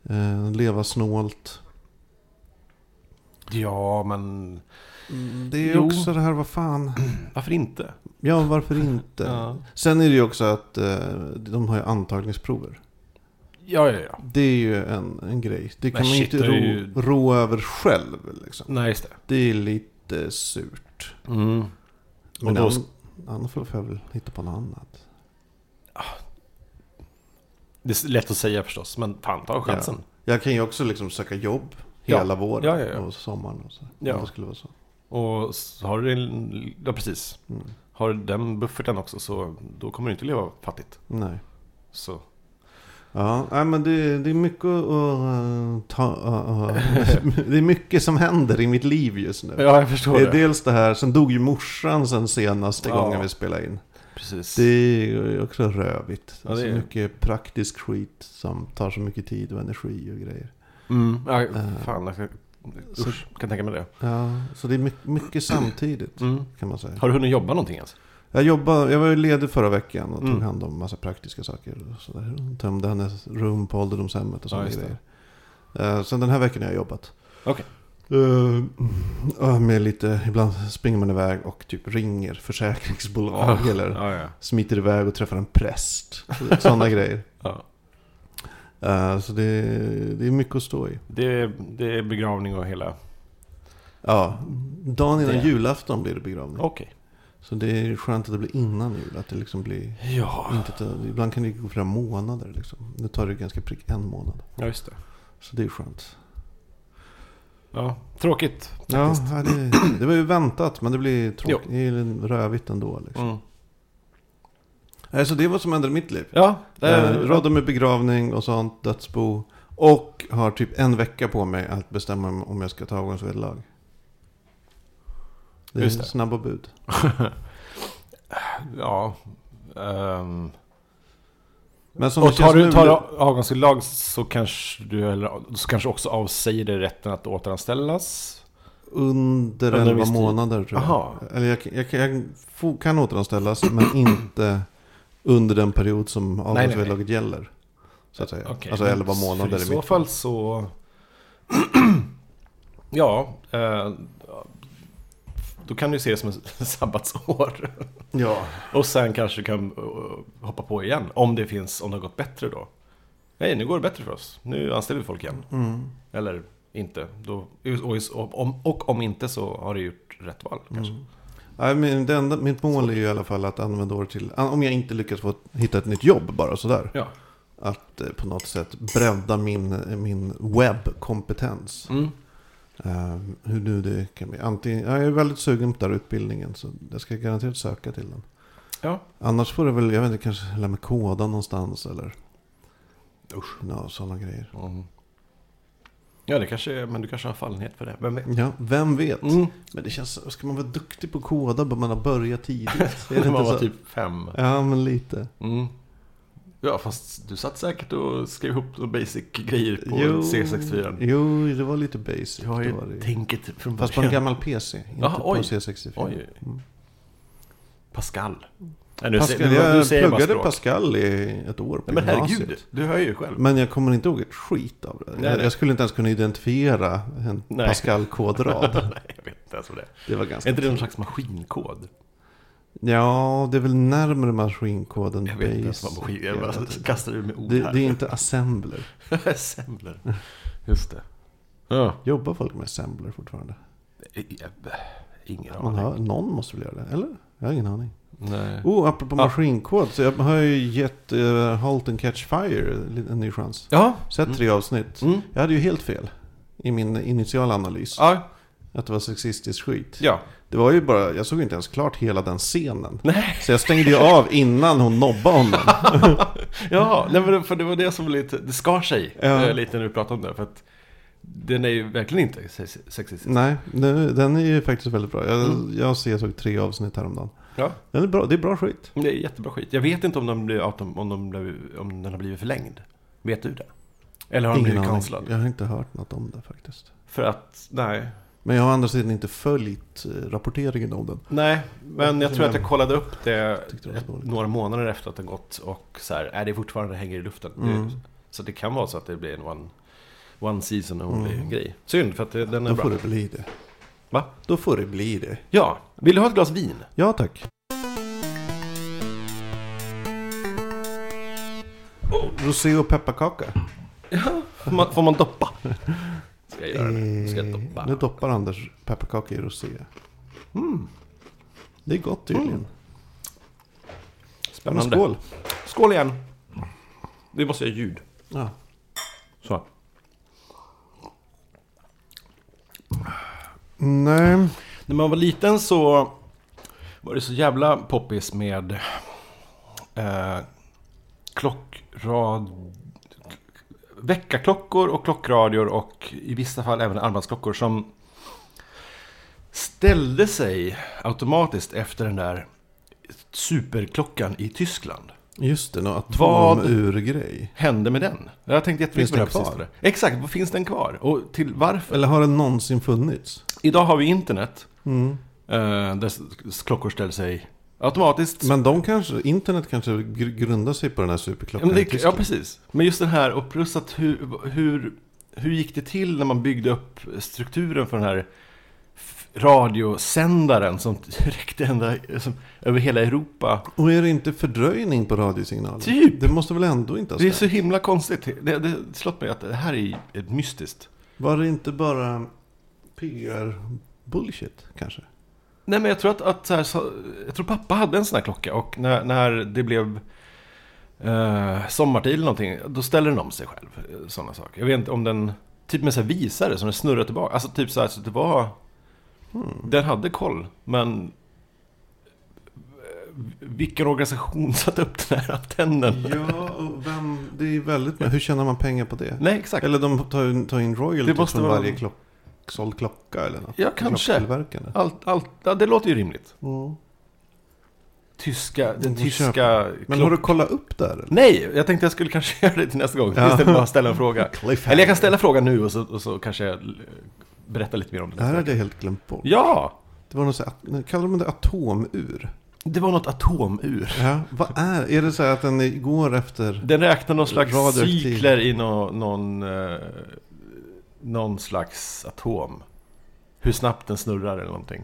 Speaker 2: Eh, leva snålt.
Speaker 1: Ja, men Mm,
Speaker 2: Det är ju
Speaker 1: Jo.
Speaker 2: också det här, vad fan.
Speaker 1: varför inte?
Speaker 2: Ja, varför
Speaker 1: <clears throat>
Speaker 2: inte?
Speaker 1: Ja.
Speaker 2: Sen är det ju också att eh, de har ju antagningsprover.
Speaker 1: Ja, ja, ja.
Speaker 2: Det är ju en, en grej. Det kan
Speaker 1: Men
Speaker 2: man ju
Speaker 1: shit,
Speaker 2: inte
Speaker 1: det
Speaker 2: rå,
Speaker 1: är ju-
Speaker 2: rå över själv. Liksom.
Speaker 1: Nej, just det.
Speaker 2: Det är lite surt.
Speaker 1: Mm.
Speaker 2: Men
Speaker 1: då-
Speaker 2: annars- annars får jag väl hitta på något annat.
Speaker 1: Det är lätt att säga förstås, men fan, ta chansen.
Speaker 2: Jag kan ju också liksom söka jobb
Speaker 1: Ja.
Speaker 2: hela våren
Speaker 1: Ja, ja, ja.
Speaker 2: och sommaren. Och så.
Speaker 1: Ja.
Speaker 2: Om det skulle vara så.
Speaker 1: Och så har du din... Ja, precis.
Speaker 2: Mm.
Speaker 1: Har du den bufferten också, så då kommer du inte leva fattigt.
Speaker 2: Nej.
Speaker 1: Så.
Speaker 2: Ja, nej, men det, det är mycket att eh, ta... eh, <laughs> det är mycket som händer i mitt liv just nu.
Speaker 1: Ja, jag förstår
Speaker 2: Det
Speaker 1: det.
Speaker 2: är dels det här, sen dog ju morsan sen senaste
Speaker 1: Ja.
Speaker 2: gången vi spelade in.
Speaker 1: Precis.
Speaker 2: Det är ju också rövigt.
Speaker 1: Ja, det är
Speaker 2: Så
Speaker 1: ju.
Speaker 2: mycket praktisk skit som tar så mycket tid och energi och grejer.
Speaker 1: Mm. Ja,
Speaker 2: Eh.
Speaker 1: fan, jag ska Usch, kan tänka mig det.
Speaker 2: Ja, så det är mycket, mycket samtidigt
Speaker 1: Mm.
Speaker 2: kan man säga.
Speaker 1: Har du hunnit jobba någonting alltså? ens?
Speaker 2: Jag, jobbade, jag var ju ledig förra veckan och tog
Speaker 1: Mm.
Speaker 2: hand om massa praktiska saker. Och så där. Tömde hennes rum på ålderdomshemmet och
Speaker 1: Ja,
Speaker 2: sådana
Speaker 1: just det.
Speaker 2: grejer. Eh, sen den här veckan har jag jobbat.
Speaker 1: Okej.
Speaker 2: Eh, ja, med lite, ibland springer man iväg och typ ringer försäkringsbolag eller
Speaker 1: Ja, ja.
Speaker 2: smiter iväg och träffar en präst.
Speaker 1: <laughs>
Speaker 2: Sådana grejer.
Speaker 1: ja.
Speaker 2: Eh, så det, det är mycket att stå i.
Speaker 1: Det, är, det är begravning och hela...
Speaker 2: Ja, dagen innan
Speaker 1: Det-
Speaker 2: julafton blir det begravning.
Speaker 1: Okej.
Speaker 2: Så det är skönt att det blir innan jul. Att det liksom blir...
Speaker 1: Ja.
Speaker 2: Inte, ta- ibland kan det gå flera månader liksom. Nu tar det ganska prick en månad.
Speaker 1: ja, just det.
Speaker 2: Så det är skönt.
Speaker 1: Ja. Tråkigt.
Speaker 2: Ja,
Speaker 1: faktiskt.
Speaker 2: ja, det, <clears throat> det var ju väntat men det blir tråkigt. Det är ju rövigt ändå liksom.
Speaker 1: Mm.
Speaker 2: Nej, Så det var som hände i mitt liv.
Speaker 1: Ja, det
Speaker 2: Eh,
Speaker 1: är...
Speaker 2: Radde med begravning och sånt, dödsbo. Och har typ en vecka på mig att bestämma om- om jag ska ta avgångsvederlag. Det är
Speaker 1: Just det.
Speaker 2: snabba bud.
Speaker 1: ja. ehm.
Speaker 2: Men som
Speaker 1: Och
Speaker 2: det känns
Speaker 1: tar du
Speaker 2: nu-
Speaker 1: tar du avgångsvederlag så kanske du eller, så kanske också avsäger dig rätten att återanställas.
Speaker 2: Under
Speaker 1: Under en
Speaker 2: 11
Speaker 1: viss tid.
Speaker 2: månader tror jag.
Speaker 1: Aha.
Speaker 2: Eller jag, jag, jag, fo- kan
Speaker 1: <clears throat>
Speaker 2: återanställas men inte under den period som
Speaker 1: nej.
Speaker 2: avgångsvederlaget gäller. Så att säga.
Speaker 1: Okej,
Speaker 2: alltså
Speaker 1: men
Speaker 2: 11 månader
Speaker 1: Mm. för I
Speaker 2: är
Speaker 1: så
Speaker 2: mitt.
Speaker 1: fall så... <clears throat> ja. Eh, då kan du se det som ett <laughs> sabbatsår.
Speaker 2: Ja.
Speaker 1: Och sen kanske du kan eh, hoppa på igen. Om det finns, om det har gått bättre då. Nej, nu går det bättre för oss. Nu anställer vi folk igen.
Speaker 2: Mm.
Speaker 1: Eller inte. Då, och, om, och om inte så har du gjort rätt val
Speaker 2: Mm.
Speaker 1: kanske.
Speaker 2: Nej, men det enda, mitt mål är ju i alla fall att använda år till, an- om jag inte lyckas få hitta ett nytt jobb bara sådär.
Speaker 1: Ja.
Speaker 2: Att eh, på något sätt bredda min, eh, min webbkompetens.
Speaker 1: Mm.
Speaker 2: Eh, hur nu det kan bli. Antingen, ja, jag är väldigt sugen på den här utbildningen så jag ska garanterat söka till den.
Speaker 1: Ja.
Speaker 2: Annars får det väl, jag vet inte, kanske lära mig koda någonstans eller
Speaker 1: Usch.
Speaker 2: ja, sådana grejer.
Speaker 1: Mm. Ja, det kanske är, men du kanske har fallenhet för det. Vem vet?
Speaker 2: Ja, vem vet?
Speaker 1: Mm. <laughs>
Speaker 2: Men det känns, ska man vara duktig på att koda bör man ha
Speaker 1: <laughs>
Speaker 2: börjat tidigt. Är det
Speaker 1: När
Speaker 2: inte
Speaker 1: man
Speaker 2: så?
Speaker 1: var typ fem.
Speaker 2: Ja, men lite.
Speaker 1: Mm. Ja, fast du satt säkert och skrev ihop några basic-grejer på C64.
Speaker 2: Jo, det var lite basic.
Speaker 1: Du har
Speaker 2: det
Speaker 1: ju
Speaker 2: var det. ju.
Speaker 1: tänket från
Speaker 2: Fast på en gammal PC, inte
Speaker 1: Jaha,
Speaker 2: på
Speaker 1: oj.
Speaker 2: C64.
Speaker 1: Oj.
Speaker 2: Mm.
Speaker 1: Pascal. Nej, nu
Speaker 2: Pascal,
Speaker 1: säger- nu- nu
Speaker 2: jag
Speaker 1: säger bara
Speaker 2: pluggade
Speaker 1: språk.
Speaker 2: Pascal i ett år på
Speaker 1: Nej, men herregud,
Speaker 2: gymnasiet. Mm.
Speaker 1: du hör ju själv.
Speaker 2: Men jag kommer inte ihåg ett skit av det.
Speaker 1: Nej,
Speaker 2: jag,
Speaker 1: nej.
Speaker 2: jag skulle inte ens kunna identifiera en
Speaker 1: Nej.
Speaker 2: Pascal-kodrad.
Speaker 1: <laughs> Nej, jag vet inte ens vad det är.
Speaker 2: Det var ganska
Speaker 1: Är inte det någon slags maskinkod?
Speaker 2: Ja, det är väl närmare maskinkoden
Speaker 1: Jag vet inte ens vad
Speaker 2: basic.
Speaker 1: maskin
Speaker 2: Jag
Speaker 1: Jag bara
Speaker 2: vet inte.
Speaker 1: kastar ur med ord
Speaker 2: typ. Det,
Speaker 1: här.
Speaker 2: det är inte assembler.
Speaker 1: <laughs> Assembler. Just det. Ja. Eh,
Speaker 2: Jobbar folk med assembler fortfarande?
Speaker 1: Ingen
Speaker 2: Man
Speaker 1: aning.
Speaker 2: har, någon måste väl göra det, eller? Jag har ingen aning.
Speaker 1: Nej.
Speaker 2: Oh, apropå
Speaker 1: Ja.
Speaker 2: maskinkod, så jag har ju gett uh, Halt and Catch Fire en ny chans.
Speaker 1: Ja.
Speaker 2: Sett tre avsnitt.
Speaker 1: Mm.
Speaker 2: Jag hade ju helt fel i min initiala analys.
Speaker 1: Ja.
Speaker 2: Att det var sexistiskt skit.
Speaker 1: ja.
Speaker 2: Det var ju bara, jag såg inte ens klart hela den scenen.
Speaker 1: Nej.
Speaker 2: Så jag stängde ju av innan hon nobbade honom.
Speaker 1: <laughs> Ja, nej, men det- för det var det som var lite, det skar sig
Speaker 2: Ja.
Speaker 1: eh, lite när vi pratade om det. För att den är ju verkligen inte se- sexistisk.
Speaker 2: Nej, nu, den är ju faktiskt väldigt bra. Jag, jag, ser, jag såg tre avsnitt häromdagen.
Speaker 1: Mm. Ja.
Speaker 2: Den är bra, det är bra skit.
Speaker 1: Det är jättebra skit. Jag vet inte om, de blir, att de, om, de blev, om den har blivit förlängd. Vet du det? Eller har den blivit cancellad?
Speaker 2: Jag har inte hört något om det faktiskt.
Speaker 1: För att, nej.
Speaker 2: Men jag har å andra sidan inte följt eh, rapporteringen om den.
Speaker 1: Nej, men jag tror att jag kollade upp det
Speaker 2: Tyckte det var så dåligt.
Speaker 1: några månader efter att den gått och så här, är det fortfarande hänger i luften.
Speaker 2: Mm.
Speaker 1: Det, så det kan vara så att det blir en one, one season only grej. Synd, för att det, den är
Speaker 2: Mm. Då får
Speaker 1: bra.
Speaker 2: det bli det.
Speaker 1: Va?
Speaker 2: Då får det bli det.
Speaker 1: Ja, vill du ha ett glas vin?
Speaker 2: Ja tack.
Speaker 1: Oh.
Speaker 2: Rosé och pepparkaka.
Speaker 1: Får man, får man
Speaker 2: <laughs>
Speaker 1: doppa? Ska jag göra det? Ska jag
Speaker 2: Eh,
Speaker 1: doppa?
Speaker 2: Nu doppar Anders pepparkaka i rosé. Mm. Det är gott tydligen. Men
Speaker 1: Mm. Spännande.
Speaker 2: skål.
Speaker 1: Skål igen! Vi måste göra ljud.
Speaker 2: Ja.
Speaker 1: Så.
Speaker 2: Nej.
Speaker 1: När man var liten så var det så jävla poppis med eh, klockrad... Väckarklockor och klockradior och i vissa fall även armbandsklockor som ställde sig automatiskt efter den där superklockan i Tyskland.
Speaker 2: Just det, någon
Speaker 1: Vad-
Speaker 2: atomur-grej.
Speaker 1: hände med den? Jag har tänkt
Speaker 2: Finns
Speaker 1: jättemycket på det
Speaker 2: den
Speaker 1: här på
Speaker 2: kvar?
Speaker 1: sistone. Exakt, vad finns den kvar? Och till varför?
Speaker 2: Eller har den någonsin funnits?
Speaker 1: Idag har vi internet.
Speaker 2: Mm.
Speaker 1: eh, där s- s- klockor ställer sig automatiskt.
Speaker 2: Men de kanske, internet kanske gr- grundar sig på den här
Speaker 1: ja,
Speaker 2: superklockan.
Speaker 1: men
Speaker 2: i
Speaker 1: det, ja,
Speaker 2: Tyskland.
Speaker 1: precis. Men just den här, och plus att hur, hur, hur gick det till när man byggde upp strukturen för den här f- radiosändaren som <laughs> räckte ända, som, över hela Europa.
Speaker 2: Och är det inte fördröjning på radiosignalen?
Speaker 1: Typ.
Speaker 2: Det måste väl ändå inte ha
Speaker 1: Det är
Speaker 2: stämt?
Speaker 1: så himla konstigt. Det, det slått mig att det här är ju mystiskt.
Speaker 2: Var det inte bara PR-bullshit kanske?
Speaker 1: Nej men jag tror att, att så här, så, jag tror pappa hade en sån här klocka och när, när det blev eh, sommartid eller någonting, då ställer den om sig själv. eh, Sådana saker. Jag vet inte om den, typ med så här visare som den snurrar tillbaka. Alltså typ så här, så det var, hmm, den hade koll men eh, vilken organisation <laughs> satte upp den här antennen?
Speaker 2: Ja, och vem, det är väldigt... Hur tjänar man pengar på det?
Speaker 1: Nej exakt.
Speaker 2: Eller de tar, in- tar in royalty
Speaker 1: Det måste
Speaker 2: från
Speaker 1: vara-
Speaker 2: varje klock, såld klocka eller något?
Speaker 1: Ja, kanske.
Speaker 2: Klocktillverkande.
Speaker 1: Allt, allt, ja, det låter ju rimligt.
Speaker 2: Mm.
Speaker 1: Tyska, den
Speaker 2: Mm,
Speaker 1: tyska...
Speaker 2: köpa. Men har du kollat upp där? Eller?
Speaker 1: Nej, jag tänkte jag skulle kanske <laughs> göra det till nästa gång.
Speaker 2: Ja.
Speaker 1: Istället för att bara ställa en fråga.
Speaker 2: Cliffhanger.
Speaker 1: Eller jag kan ställa frågan nu och så, och så kanske jag l- berättar lite mer om det.
Speaker 2: Det här hade jag helt glömt bort.
Speaker 1: Ja!
Speaker 2: Det var något så här, nu kallar man det atomur?
Speaker 1: Det var något atomur.
Speaker 2: Ja, vad är Är det så här att den går efter...
Speaker 1: Den räknar någon slags
Speaker 2: Radioaktiv.
Speaker 1: cykler i nå, någon, eh, någon slags atom. Hur snabbt den snurrar eller någonting.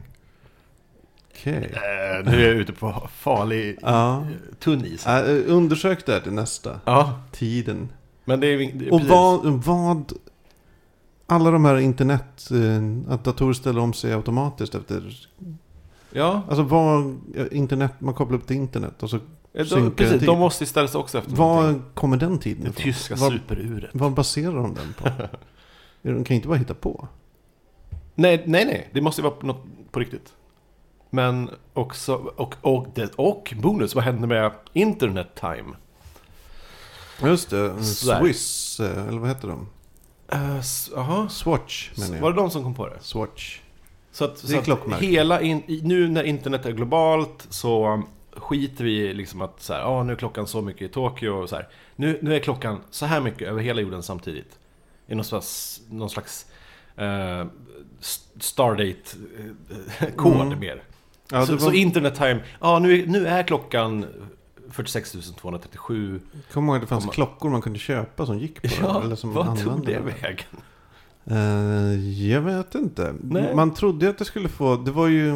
Speaker 2: Okej.
Speaker 1: Eh, nu är jag ute på farlig,
Speaker 2: Ja.
Speaker 1: eh, tunn is.
Speaker 2: Äh, undersök det här till nästa.
Speaker 1: Ja,
Speaker 2: Tiden.
Speaker 1: men det är... det är
Speaker 2: Och
Speaker 1: precis.
Speaker 2: vad, vad... Alla de här internet... eh, Att datorer ställer om sig automatiskt efter...
Speaker 1: Ja,
Speaker 2: Alltså vad... ja, Internet, man kopplar upp till internet och så...
Speaker 1: eh, de,
Speaker 2: synkar
Speaker 1: precis.
Speaker 2: till.
Speaker 1: De måste ju ställa sig också efter någonting.
Speaker 2: Vad kommer den tiden
Speaker 1: Det
Speaker 2: ifrån?
Speaker 1: tyska
Speaker 2: Vad-
Speaker 1: superuret.
Speaker 2: Vad baserar de den på?
Speaker 1: <laughs>
Speaker 2: De kan inte bara hitta på.
Speaker 1: Nej, nej, nej. Det måste ju vara något på riktigt. Men också, och, och, det, och bonus, vad hände med internet time?
Speaker 2: Just det.
Speaker 1: Sådär.
Speaker 2: Swiss, eh, eller vad heter de?
Speaker 1: Eh, s- Jaha.
Speaker 2: Swatch menar
Speaker 1: var
Speaker 2: jag.
Speaker 1: det de som kom på det?
Speaker 2: Swatch.
Speaker 1: Så att,
Speaker 2: Det är
Speaker 1: så att
Speaker 2: klockmärken.
Speaker 1: hela in, i- nu när internet är globalt så skiter vi i liksom att så här, ah, nu är klockan så mycket i Tokyo och så här. Nu, nu är klockan så här mycket över hela jorden samtidigt. I någon slags, någon slags eh, s- Stardate-kod
Speaker 2: Mm.
Speaker 1: eh, mer.
Speaker 2: Ja,
Speaker 1: så,
Speaker 2: det
Speaker 1: så
Speaker 2: var,
Speaker 1: internet time, ja nu, är- nu är klockan 46 237.
Speaker 2: kom ihåg att det fanns
Speaker 1: Komma-
Speaker 2: klockor man kunde köpa som gick på
Speaker 1: <laughs> Ja,
Speaker 2: det, eller som man
Speaker 1: vad tog
Speaker 2: använde
Speaker 1: det
Speaker 2: det.
Speaker 1: vägen?
Speaker 2: Eh, jag vet inte.
Speaker 1: Nej.
Speaker 2: Man trodde ju att det skulle få, det var ju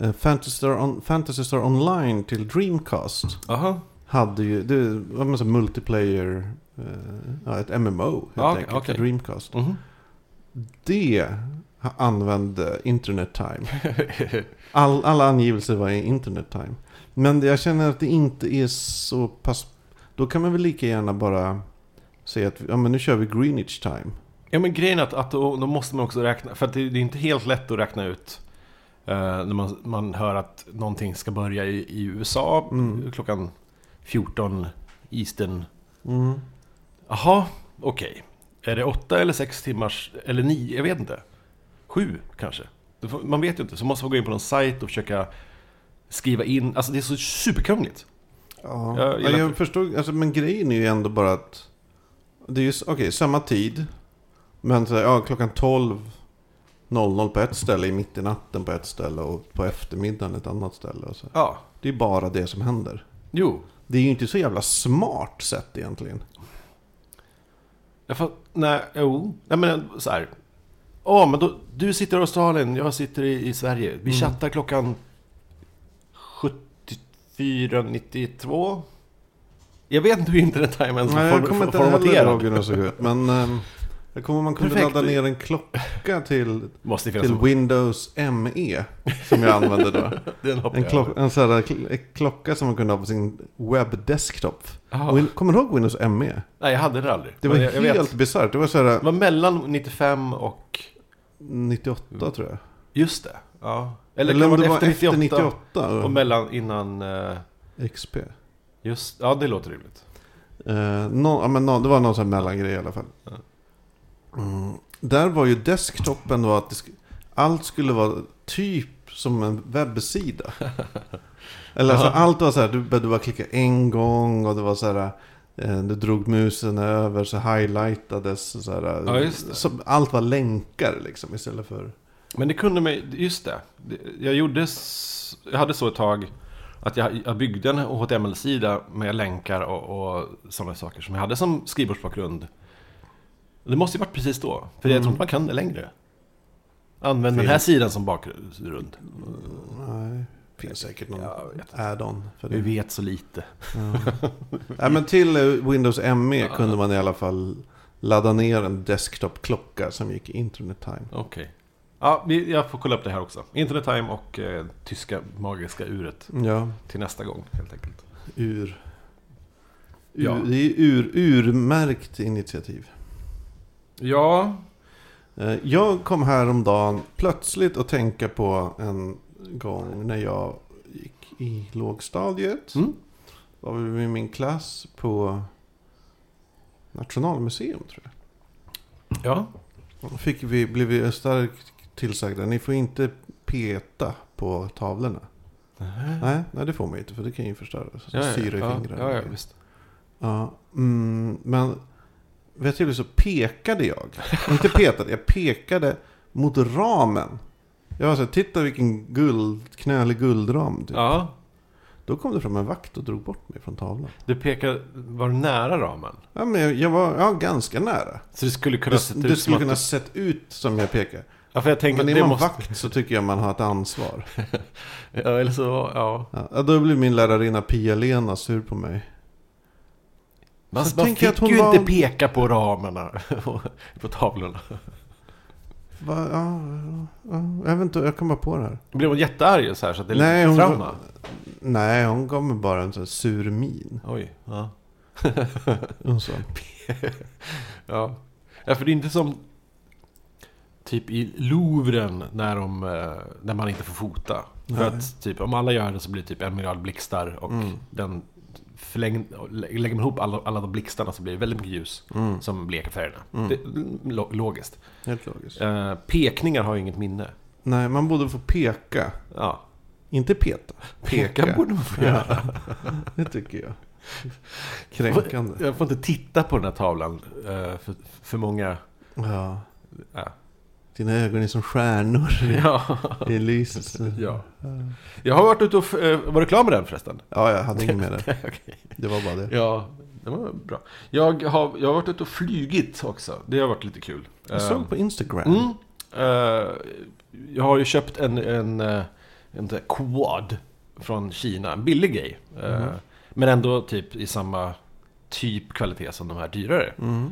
Speaker 2: eh, Fantasy Star, on, Fantasy Star Online till Dreamcast.
Speaker 1: Aha.
Speaker 2: Hade ju, det var en sån multiplayer, eh, ja, ett MMO helt
Speaker 1: Ja, Ah, okej,
Speaker 2: enkelt,
Speaker 1: okej.
Speaker 2: till Dreamcast.
Speaker 1: Mhm. <laughs>
Speaker 2: <laughs> Det ha- använde internet time. All, alla angivelser var i internet time. Men jag känner att det inte är så pass... Då kan man väl lika gärna bara säga att ja, men nu kör vi Greenwich time.
Speaker 1: ja men grejen är att, att då, då måste man också räkna, för att det, det är inte helt lätt att räkna ut eh, när man, man hör att någonting ska börja i, i USA
Speaker 2: Mm.
Speaker 1: klockan 14 Eastern. Jaha, okej. Är det åtta eller sex timmars, eller nio, jag vet inte. Sju kanske. Det får- Man vet ju inte, så måste man gå in på någon sajt och försöka skriva in. Alltså det är så superkrångligt.
Speaker 2: Ja,
Speaker 1: Jag
Speaker 2: jag,
Speaker 1: gillar
Speaker 2: ja, jag
Speaker 1: inte-
Speaker 2: förstod. Alltså, men grejen är ju ändå bara att... Det är ju s- okej, samma tid. Men så, här, ja, klockan 12.00 på ett ställe, i mitt i natten på ett ställe och på eftermiddagen ett annat ställe. Och så.
Speaker 1: Ja.
Speaker 2: Det är bara det som händer.
Speaker 1: Jo.
Speaker 2: Det är ju inte så jävla smart sätt egentligen.
Speaker 1: Jag fatt, nej, jo. Nej men så här. Ja, men då, du sitter i Australien, jag sitter i, i Sverige. Vi
Speaker 2: Mm.
Speaker 1: chattar klockan 74.92. Jag vet inte hur internet-time ens
Speaker 2: Nej,
Speaker 1: var
Speaker 2: jag
Speaker 1: form-
Speaker 2: kommer inte heller
Speaker 1: formaterad.
Speaker 2: ihåg hur den såg ut. Men ehm, jag kommer ihåg man kunde
Speaker 1: Perfekt.
Speaker 2: ladda ner en klocka till,
Speaker 1: Måste ju finnas
Speaker 2: till
Speaker 1: en,
Speaker 2: Windows ME. Som jag använde <laughs> då.
Speaker 1: den hoppar
Speaker 2: En,
Speaker 1: jag
Speaker 2: klock, en, sån här, kl- en klocka som man kunde ha på sin webbdesktop.
Speaker 1: över. Jaha.
Speaker 2: Win- Kommer du ihåg Windows ME?
Speaker 1: Nej, jag hade den aldrig.
Speaker 2: Det var
Speaker 1: Men jag, jag vet.
Speaker 2: helt bisarrt. Det var så
Speaker 1: Det
Speaker 2: här
Speaker 1: var mellan 95 och...
Speaker 2: 98 tror jag.
Speaker 1: Just det. Ja.
Speaker 2: Eller, om det var efter 98.
Speaker 1: Och mellan innan... eh,
Speaker 2: XP.
Speaker 1: Just, ja, det låter rimligt.
Speaker 2: Eh, nå- ja, men nå- det var någon sån här mellangrej i alla fall.
Speaker 1: Ja.
Speaker 2: Mm. Där var ju desktopen då
Speaker 1: <laughs>
Speaker 2: att det sk- allt skulle vara typ som en webbsida. Eller alltså,
Speaker 1: Ja.
Speaker 2: allt var så här, du behövde bara klicka en gång och det var så här, eh, du drog musen över så highlightades. och Så här,
Speaker 1: Ja, just det.
Speaker 2: så allt var länkar liksom istället för...
Speaker 1: Men det kunde mig, just det. Det- Jag gjorde, s- jag hade så ett tag att jag, jag byggde en HTML-sida med länkar och, och sådana saker som jag hade som skrivbordsbakgrund. Det måste ju varit precis då, för jag tror inte man kan det längre. Använd den här
Speaker 2: Finns-
Speaker 1: sidan som bakgrund.
Speaker 2: Nej, finns säkert någon
Speaker 1: Mm. Jag vet
Speaker 2: add-on för
Speaker 1: Vi
Speaker 2: det.
Speaker 1: vet så lite.
Speaker 2: <laughs> Nej, men till eh, Windows ME
Speaker 1: Ja.
Speaker 2: kunde man i alla fall ladda ner en desktop-klocka som gick internet time.
Speaker 1: Okej. Ja, vi- jag får kolla upp det här också. Internet Time och eh, tyska magiska uret
Speaker 2: Ja,
Speaker 1: till nästa gång helt enkelt.
Speaker 2: ur... ur
Speaker 1: Ja.
Speaker 2: Det är ur, urmärkt initiativ.
Speaker 1: Ja,
Speaker 2: Eh, Jag kom häromdagen plötsligt att tänka på en gång när jag gick i lågstadiet.
Speaker 1: Mm.
Speaker 2: Var vi med min klass på Nationalmuseum tror jag.
Speaker 1: ja.
Speaker 2: Då Fick vi, blev vi starkt tillsagda, ni får inte peta på tavlorna. Nej, nej det får man inte för det kan ju förstöras. Så syra
Speaker 1: Mm.
Speaker 2: i
Speaker 1: ja,
Speaker 2: fingrarna.
Speaker 1: Ja, ja, visst.
Speaker 2: Ja, mm, men vid ett tillfälle så pekade jag. Inte petade, jag pekade mot ramen. Jag var så här, titta vilken guld, knölig guldram. Typ.
Speaker 1: Ja,
Speaker 2: Då kom det fram en vakt och drog bort mig från tavlan.
Speaker 1: Du pekar, var du nära ramen?
Speaker 2: Ja, men jag, jag var ja, ganska nära.
Speaker 1: Så det skulle kunna
Speaker 2: Det,
Speaker 1: sett
Speaker 2: det
Speaker 1: ut som
Speaker 2: skulle
Speaker 1: att...
Speaker 2: kunna sett ut som jag pekade.
Speaker 1: Ja, för jag tänker
Speaker 2: Men
Speaker 1: att
Speaker 2: är
Speaker 1: det
Speaker 2: man
Speaker 1: måste...
Speaker 2: vakt så tycker jag man har ett ansvar.
Speaker 1: Ja, eller så, ja.
Speaker 2: Ja, ja, då blev min lärarinna Pia-Lena sur på mig.
Speaker 1: Man,
Speaker 2: Så
Speaker 1: man
Speaker 2: tänker
Speaker 1: fick
Speaker 2: jag att hon
Speaker 1: ju
Speaker 2: var-
Speaker 1: inte peka på ramarna, <laughs> på tavlorna.
Speaker 2: Va, ja, ja, jag vet inte, jag kom bara på det här.
Speaker 1: Blev hon jättearg så här så att det är
Speaker 2: Nej, hon-
Speaker 1: lite trauma?
Speaker 2: Nej, hon gav mig bara en sån här sur min.
Speaker 1: Oj, ja.
Speaker 2: Hon sa,
Speaker 1: ja. Ja, för det är inte som typ i Louvren när, de, eh, när man inte får fota. För
Speaker 2: Nej.
Speaker 1: att typ, om alla gör det så blir det typ en miljard blixtar och
Speaker 2: Mm.
Speaker 1: den förläng, lä- lägger man ihop alla, alla de blixtarna så blir det väldigt mycket ljus
Speaker 2: Mm.
Speaker 1: som bleker färgerna.
Speaker 2: Mm.
Speaker 1: Det är lo- logiskt.
Speaker 2: Helt logiskt.
Speaker 1: Eh, pekningar har ju inget minne.
Speaker 2: Nej, man borde få peka.
Speaker 1: Ja.
Speaker 2: Inte peta.
Speaker 1: Peka, borde man få göra.
Speaker 2: Ja, det tycker jag. Kränkande.
Speaker 1: Jag får inte titta på den här tavlan eh, för, för många...
Speaker 2: Ja.
Speaker 1: Ja.
Speaker 2: Dina ögon är som stjärnor
Speaker 1: <laughs> <laughs> Ja.
Speaker 2: i lyset.
Speaker 1: ja. Jag har varit ute och... f- eh, var du klar med den förresten?
Speaker 2: Ja, jag hade inget med
Speaker 1: <laughs>
Speaker 2: det.
Speaker 1: Okej.
Speaker 2: Det var bara det.
Speaker 1: Ja, det var bra. Jag har, jag har varit ute och flygit också. Det har varit lite kul.
Speaker 2: Jag såg på Instagram.
Speaker 1: Mm. Eh, jag har ju köpt en, en, eh, en sån här quad från Kina. En billig grej. Eh, Men ändå typ i samma typ kvalitet som de här dyrare.
Speaker 2: Mm.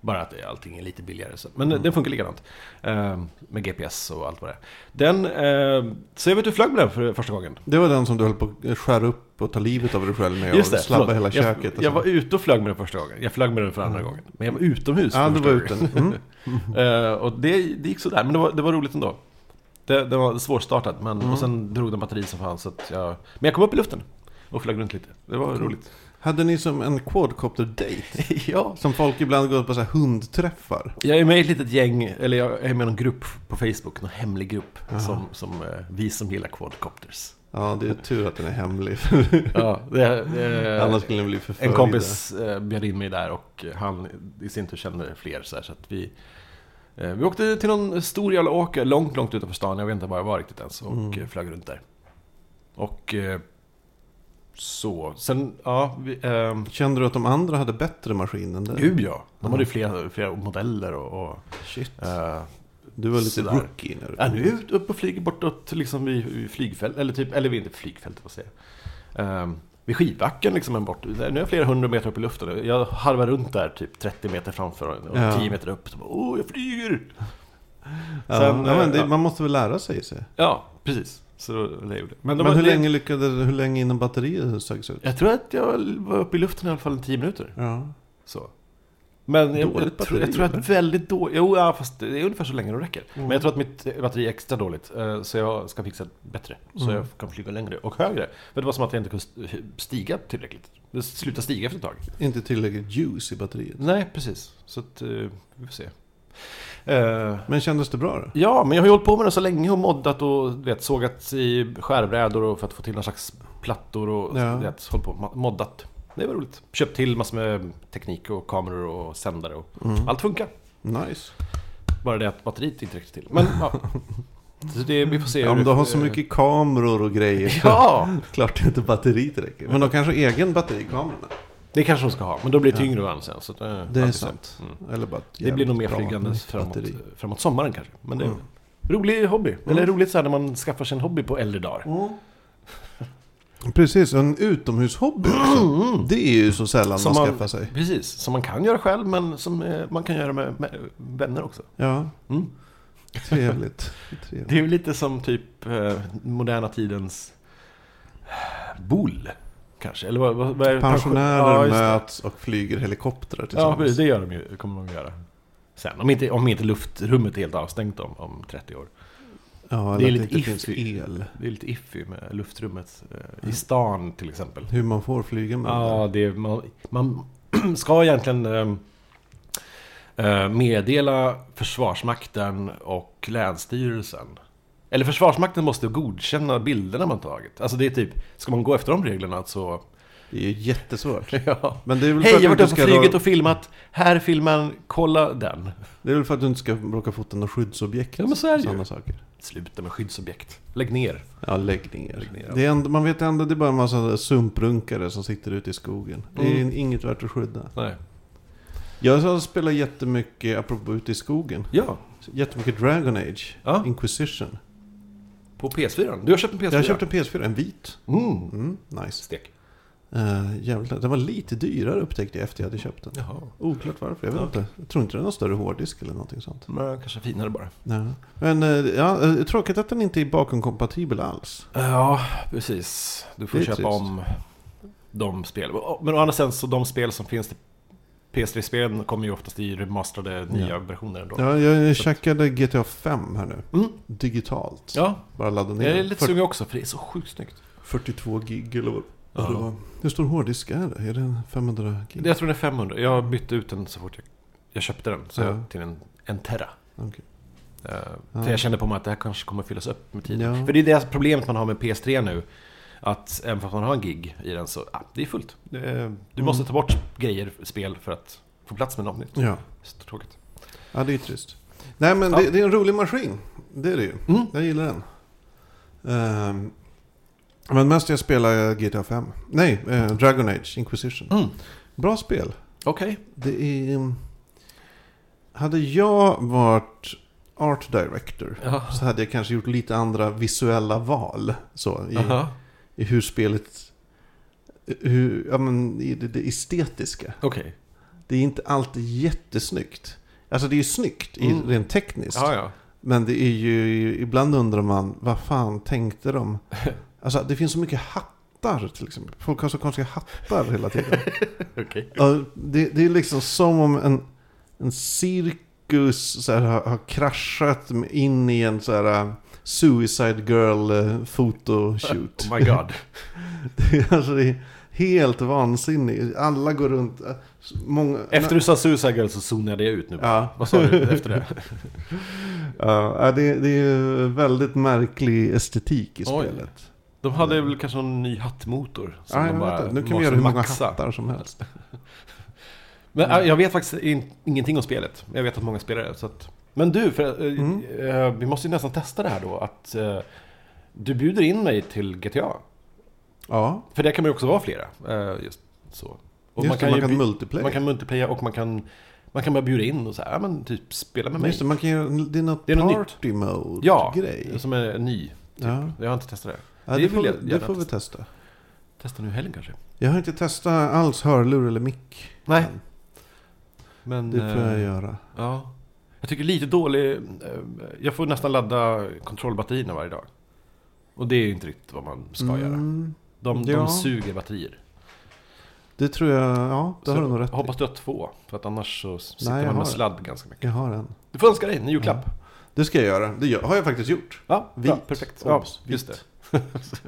Speaker 1: Bara att allting är lite billigare. Så. Men den funkar likadant. Eh, med GPS och allt vad det är. Den, eh, så jag vet du flög med den för första gången.
Speaker 2: Det var den som du höll på att skära upp och ta livet av dig själv med
Speaker 1: Just det,
Speaker 2: och slabba
Speaker 1: förlåt.
Speaker 2: hela köket.
Speaker 1: Jag, jag
Speaker 2: och så. Mm.
Speaker 1: var ute och flög med den första gången. Jag flög med den för andra gången. Men jag var utomhus
Speaker 2: Ja,
Speaker 1: för
Speaker 2: du
Speaker 1: första
Speaker 2: var
Speaker 1: gången.
Speaker 2: ute.
Speaker 1: <laughs>
Speaker 2: Mm.
Speaker 1: Eh, och det, det gick sådär, men det var, det var roligt ändå. Det, det var svårstartat, men
Speaker 2: Mm.
Speaker 1: och sen drog den batteri som fanns. Så att jag, men jag kom upp i luften och flög runt lite. Det var roligt. <laughs>
Speaker 2: Hade ni som en quadcopter-date?
Speaker 1: ja.
Speaker 2: Som folk ibland går på så här hundträffar.
Speaker 1: Jag är med i ett litet gäng, eller jag är med i någon grupp på Facebook, någon hemlig grupp. Som, som eh, vi som gillar quadcopters.
Speaker 2: Ja, det är tur att den är hemlig.
Speaker 1: <laughs> Ja, det, <laughs> det,
Speaker 2: Annars skulle den bli förföljd.
Speaker 1: en kompis eh, bjöd in mig där och han i sin tur kände fler så, här, så att vi eh, Vi åkte till någon stor jävla åker långt, långt utanför stan. Jag vet inte var jag var riktigt ens och eh, flög runt där. Och eh, så, sen, ja, vi, eh,
Speaker 2: Kände du att de andra hade bättre maskin än dig?
Speaker 1: Gud ja! De hade ju flera, flera modeller och... och
Speaker 2: Shit.
Speaker 1: eh,
Speaker 2: Du var lite
Speaker 1: Sådär.
Speaker 2: rookie när du
Speaker 1: Ja, nu är vi ute- uppe och flyger bortåt liksom vid, vid flygfält, eller typ, eller vid inte flygfältet vad säger jag. Um, vid skidbacken liksom en bort, där- nu är jag flera hundra meter upp i luften. Jag harvar runt där typ 30 meter framför och
Speaker 2: Ja.
Speaker 1: 10 meter upp. Så bara, Åh, jag flyger!
Speaker 2: ja,
Speaker 1: sen, eh,
Speaker 2: ja, men det,
Speaker 1: ja.
Speaker 2: Man måste väl lära sig. sig.
Speaker 1: Ja, precis. Så det gjorde.
Speaker 2: Men,
Speaker 1: de var-
Speaker 2: hur,
Speaker 1: det-
Speaker 2: länge lyckade, hur länge innan batteriet sögs ut?
Speaker 1: Jag tror att jag var uppe i luften i alla fall i 10 minuter.
Speaker 2: Ja.
Speaker 1: Så. Men jag,
Speaker 2: Dåligt
Speaker 1: jag, tror,
Speaker 2: batteri,
Speaker 1: jag tror
Speaker 2: eller? Mm.
Speaker 1: att väldigt dåligt... Jo, ja, fast det är ungefär så länge det räcker. Men jag tror att mitt batteri är extra dåligt. eh, Så jag ska fixa ett bättre. Så
Speaker 2: Mm.
Speaker 1: jag kan flyga längre och högre. För det var som att jag inte kunde st- stiga tillräckligt. Det slutade stiga efter ett tag.
Speaker 2: Inte tillräckligt juice i batteriet.
Speaker 1: Nej, precis. Så att, eh, vi får se. Eh,
Speaker 2: Men kändes det bra då?
Speaker 1: Ja, men jag har ju hållit på med det så länge och moddat och du vet, sågat i skärbrädor och för att få till någon slags plattor och
Speaker 2: Ja.
Speaker 1: rätt, håll på och ma- moddat. Det var roligt. Köpt till massor med teknik och kameror och sändare och
Speaker 2: Mm.
Speaker 1: allt funkar.
Speaker 2: Nice.
Speaker 1: Bara det att batteriet inte räckte till. Men ja. <laughs> Så det, vi får se
Speaker 2: Ja,
Speaker 1: hur
Speaker 2: men du
Speaker 1: det-
Speaker 2: har
Speaker 1: <laughs>
Speaker 2: så mycket kameror och grejer. så
Speaker 1: Ja!
Speaker 2: <laughs> Klart inte batteriet räcker. Men de kanske har egen batterikamera.
Speaker 1: Det kanske de ska ha, men då blir det tyngre varm sen. Så att, eh,
Speaker 2: Det är
Speaker 1: alltid så. Mm.
Speaker 2: sant. Eller bara ett
Speaker 1: Det blir
Speaker 2: jävligt
Speaker 1: nog mer
Speaker 2: bra
Speaker 1: flygandes
Speaker 2: nytt
Speaker 1: framåt,
Speaker 2: batteri.
Speaker 1: framåt sommaren kanske. Men det är
Speaker 2: Mm.
Speaker 1: rolig hobby. Eller roligt så här när man skaffar sig en hobby på äldre dagar.
Speaker 2: Precis, och en utomhushobby
Speaker 1: Mm.
Speaker 2: också. Det är ju så sällan
Speaker 1: Som
Speaker 2: man
Speaker 1: man-
Speaker 2: skaffar sig.
Speaker 1: Precis, som man kan göra själv men som eh, man kan göra med, med vänner också.
Speaker 2: Ja,
Speaker 1: Mm.
Speaker 2: trevligt. trevligt.
Speaker 1: Det är ju lite som typ eh, moderna tidens boule kanske. Eller vad, vad, vad är det?
Speaker 2: Pensionärer
Speaker 1: just det.
Speaker 2: möts och flyger helikoptrar
Speaker 1: Ja,
Speaker 2: tillsammans.
Speaker 1: precis, det gör de ju, kommer de göra. Sen, om inte, om inte luftrummet är helt avstängt om, om 30 år.
Speaker 2: Ja, eller
Speaker 1: Det är
Speaker 2: att
Speaker 1: lite
Speaker 2: inte finns
Speaker 1: iffy.
Speaker 2: el.
Speaker 1: Det är lite iffy med luftrummet eh, i stan till exempel. Mm.
Speaker 2: Hur man får flyga med den
Speaker 1: Ja, det är, man, man <clears throat> ska egentligen ehm, eh, meddela Försvarsmakten och Länsstyrelsen. Eller Försvarsmakten måste godkänna bilderna man tagit. Alltså det är typ, ska man gå efter de reglerna <laughs> så...
Speaker 2: Det är ju jättesvårt.
Speaker 1: Ja.
Speaker 2: Men det är väl
Speaker 1: Hej,
Speaker 2: för att
Speaker 1: jag har varit uppe
Speaker 2: du inte
Speaker 1: på
Speaker 2: ska
Speaker 1: flyget
Speaker 2: dra-
Speaker 1: och filmat. Här filmen, kolla den.
Speaker 2: Det är väl för att du inte ska råka fota något skyddsobjekt.
Speaker 1: Ja, men så är det ju.
Speaker 2: Sådana saker.
Speaker 1: Sluta med skyddsobjekt. Lägg ner.
Speaker 2: Ja, lägg ner.
Speaker 1: Lägg ner, ja.
Speaker 2: det är ändå, man vet ändå att det är bara en massa sumprunkare som sitter ute i skogen. Det är
Speaker 1: Mm.
Speaker 2: inget värt att skydda.
Speaker 1: Nej.
Speaker 2: Jag har spelat jättemycket, apropå ute i skogen,
Speaker 1: Ja,
Speaker 2: jättemycket Dragon Age.
Speaker 1: Ja.
Speaker 2: Inquisition.
Speaker 1: på PS4. Du har köpt en PS4?
Speaker 2: Jag har köpt en PS4, en vit.
Speaker 1: Mm.
Speaker 2: Mm, nice.
Speaker 1: Stek.
Speaker 2: Uh, jävligt, den var lite dyrare upptäckte jag efter jag hade köpt den.
Speaker 1: Jaha.
Speaker 2: Oklart varför, jag vet
Speaker 1: Ja.
Speaker 2: inte. Jag tror inte den har större hårddisk eller någonting sånt.
Speaker 1: Men kanske finare bara.
Speaker 2: Ja. Men eh, ja, eh, tråkigt att den inte är bakomkompatibel alls.
Speaker 1: Ja, precis. Du får
Speaker 2: Det är
Speaker 1: köpa
Speaker 2: trist.
Speaker 1: om de spel. Men å andra sidan så de spel som finns till PS3-spelen kommer ju oftast i remasterade nya versioner ändå.
Speaker 2: Ja, jag checkade GTA 5 här nu.
Speaker 1: Mm.
Speaker 2: Digitalt.
Speaker 1: Ja,
Speaker 2: Bara ladda ner
Speaker 1: jag är
Speaker 2: den.
Speaker 1: lite
Speaker 2: Fyrt-
Speaker 1: sugen också för det är så sjukt snyggt.
Speaker 2: 42 gig eller vad vad det
Speaker 1: Ja.
Speaker 2: var. Hur stor hårddisk är det? Är det en 500 gig?
Speaker 1: Jag tror den är 500. Jag bytte ut den så fort jag, jag köpte den så
Speaker 2: Ja.
Speaker 1: jag, till en, en Terra.
Speaker 2: Okej.
Speaker 1: Eh,
Speaker 2: Ja.
Speaker 1: För jag kände på mig att det här kanske kommer fyllas upp med tiden.
Speaker 2: Ja.
Speaker 1: För det är det problemet man har med PS3 nu. Att även fast man har en gig i den så, ah, det är fullt. Det är,
Speaker 2: Mm.
Speaker 1: du måste ta bort grejer, spel för att få plats med något nytt.
Speaker 2: Ja.
Speaker 1: Så tråkigt.
Speaker 2: ja, det är trist. Nej men det,
Speaker 1: Ja.
Speaker 2: det är en rolig maskin. Det är det ju.
Speaker 1: Mm.
Speaker 2: Jag gillar den. Ehm, men mest jag spelar GTA 5. Nej, eh, Dragon Age Inquisition.
Speaker 1: Mm.
Speaker 2: Bra spel.
Speaker 1: Okej.
Speaker 2: Det är... ehm, Hade jag varit art director
Speaker 1: Ja.
Speaker 2: så hade jag kanske gjort lite andra visuella val. Så, i,
Speaker 1: Aha.
Speaker 2: i hur spelet... Hur, ja, men, i det, det estetiska.
Speaker 1: Okej.
Speaker 2: Det är inte alltid jättesnyggt. Alltså det är ju snyggt i,
Speaker 1: Mm.
Speaker 2: rent tekniskt.
Speaker 1: Ja, ja.
Speaker 2: Men det är ju, ibland undrar man, vad fan
Speaker 1: <laughs>
Speaker 2: tänkte de? Alltså det finns så mycket hattar till exempel. Folk har så konstiga hattar hela tiden.
Speaker 1: <laughs> Okej.
Speaker 2: Ja, det, det är liksom som om en, en cirkus så här, har, har kraschat in i en så här, äh, Suicide Girl eh,
Speaker 1: <laughs>
Speaker 2: photoshoot.
Speaker 1: Oh my
Speaker 2: <laughs>
Speaker 1: god.
Speaker 2: Det är, alltså, det är helt vansinnigt. Alla går runt. eh, Många,
Speaker 1: Efter du sa Suicide Girl så zonade jag ut nu.
Speaker 2: Ja.
Speaker 1: Vad sa du efter det?
Speaker 2: <laughs> Ja, äh, det, det är ju väldigt märklig estetik i
Speaker 1: Oj.
Speaker 2: spelet.
Speaker 1: De hade väl kanske någon ny hattmotor. Som
Speaker 2: Ja,
Speaker 1: de
Speaker 2: jag
Speaker 1: bara
Speaker 2: vet inte. Nu kan
Speaker 1: måste
Speaker 2: vi göra hur många
Speaker 1: maxa.
Speaker 2: hattar som helst.
Speaker 1: Men
Speaker 2: Mm.
Speaker 1: äh, jag vet faktiskt in, ingenting om spelet. Jag vet att många spelar det. Så att... Men du, för, eh,
Speaker 2: Mm.
Speaker 1: eh, vi måste ju nästan testa det här då. Att eh, du bjuder in mig till GTA.
Speaker 2: Ja,
Speaker 1: För det kan man ju också vara flera. eh, just så. Och
Speaker 2: just
Speaker 1: man kan,
Speaker 2: det,
Speaker 1: ju
Speaker 2: man kan
Speaker 1: bli-
Speaker 2: multiplayer.
Speaker 1: man kan multiplaya och man kan, man kan bara bjuda in och så här, ja, men typ spela med mig.
Speaker 2: Just det, man kan göra, det är något
Speaker 1: Det är något nytt.
Speaker 2: party
Speaker 1: Ja,
Speaker 2: mode-grej.
Speaker 1: som är ny.
Speaker 2: Ja.
Speaker 1: Jag har inte testat det.
Speaker 2: Ja,
Speaker 1: Det
Speaker 2: det,
Speaker 1: vill
Speaker 2: får,
Speaker 1: jag
Speaker 2: vi- det
Speaker 1: gärna
Speaker 2: får vi testa.
Speaker 1: Testa nu i helgen kanske.
Speaker 2: Jag har inte testat alls hörlur eller mick.
Speaker 1: Nej.
Speaker 2: än.
Speaker 1: Men,
Speaker 2: Det får jag
Speaker 1: eh,
Speaker 2: göra.
Speaker 1: ja. Jag tycker lite dålig... eh, Jag får nästan ladda kontrollbatterierna varje dag. Och det är ju inte riktigt vad man ska göra.
Speaker 2: Mm,
Speaker 1: De,
Speaker 2: ja.
Speaker 1: de suger batterier.
Speaker 2: Det tror jag, ja, det har
Speaker 1: Så
Speaker 2: du nog rätt
Speaker 1: jag hoppas
Speaker 2: i.
Speaker 1: du har två. För att annars så sitter
Speaker 2: jag
Speaker 1: man
Speaker 2: har
Speaker 1: med
Speaker 2: det.
Speaker 1: sladd ganska mycket.
Speaker 2: Jag har en.
Speaker 1: Du får önska dig en julklapp. Ja,
Speaker 2: Det ska jag göra. Det gör, har jag faktiskt gjort. Vit.
Speaker 1: bra, perfekt. Ja,
Speaker 2: Obs,
Speaker 1: just det. <laughs>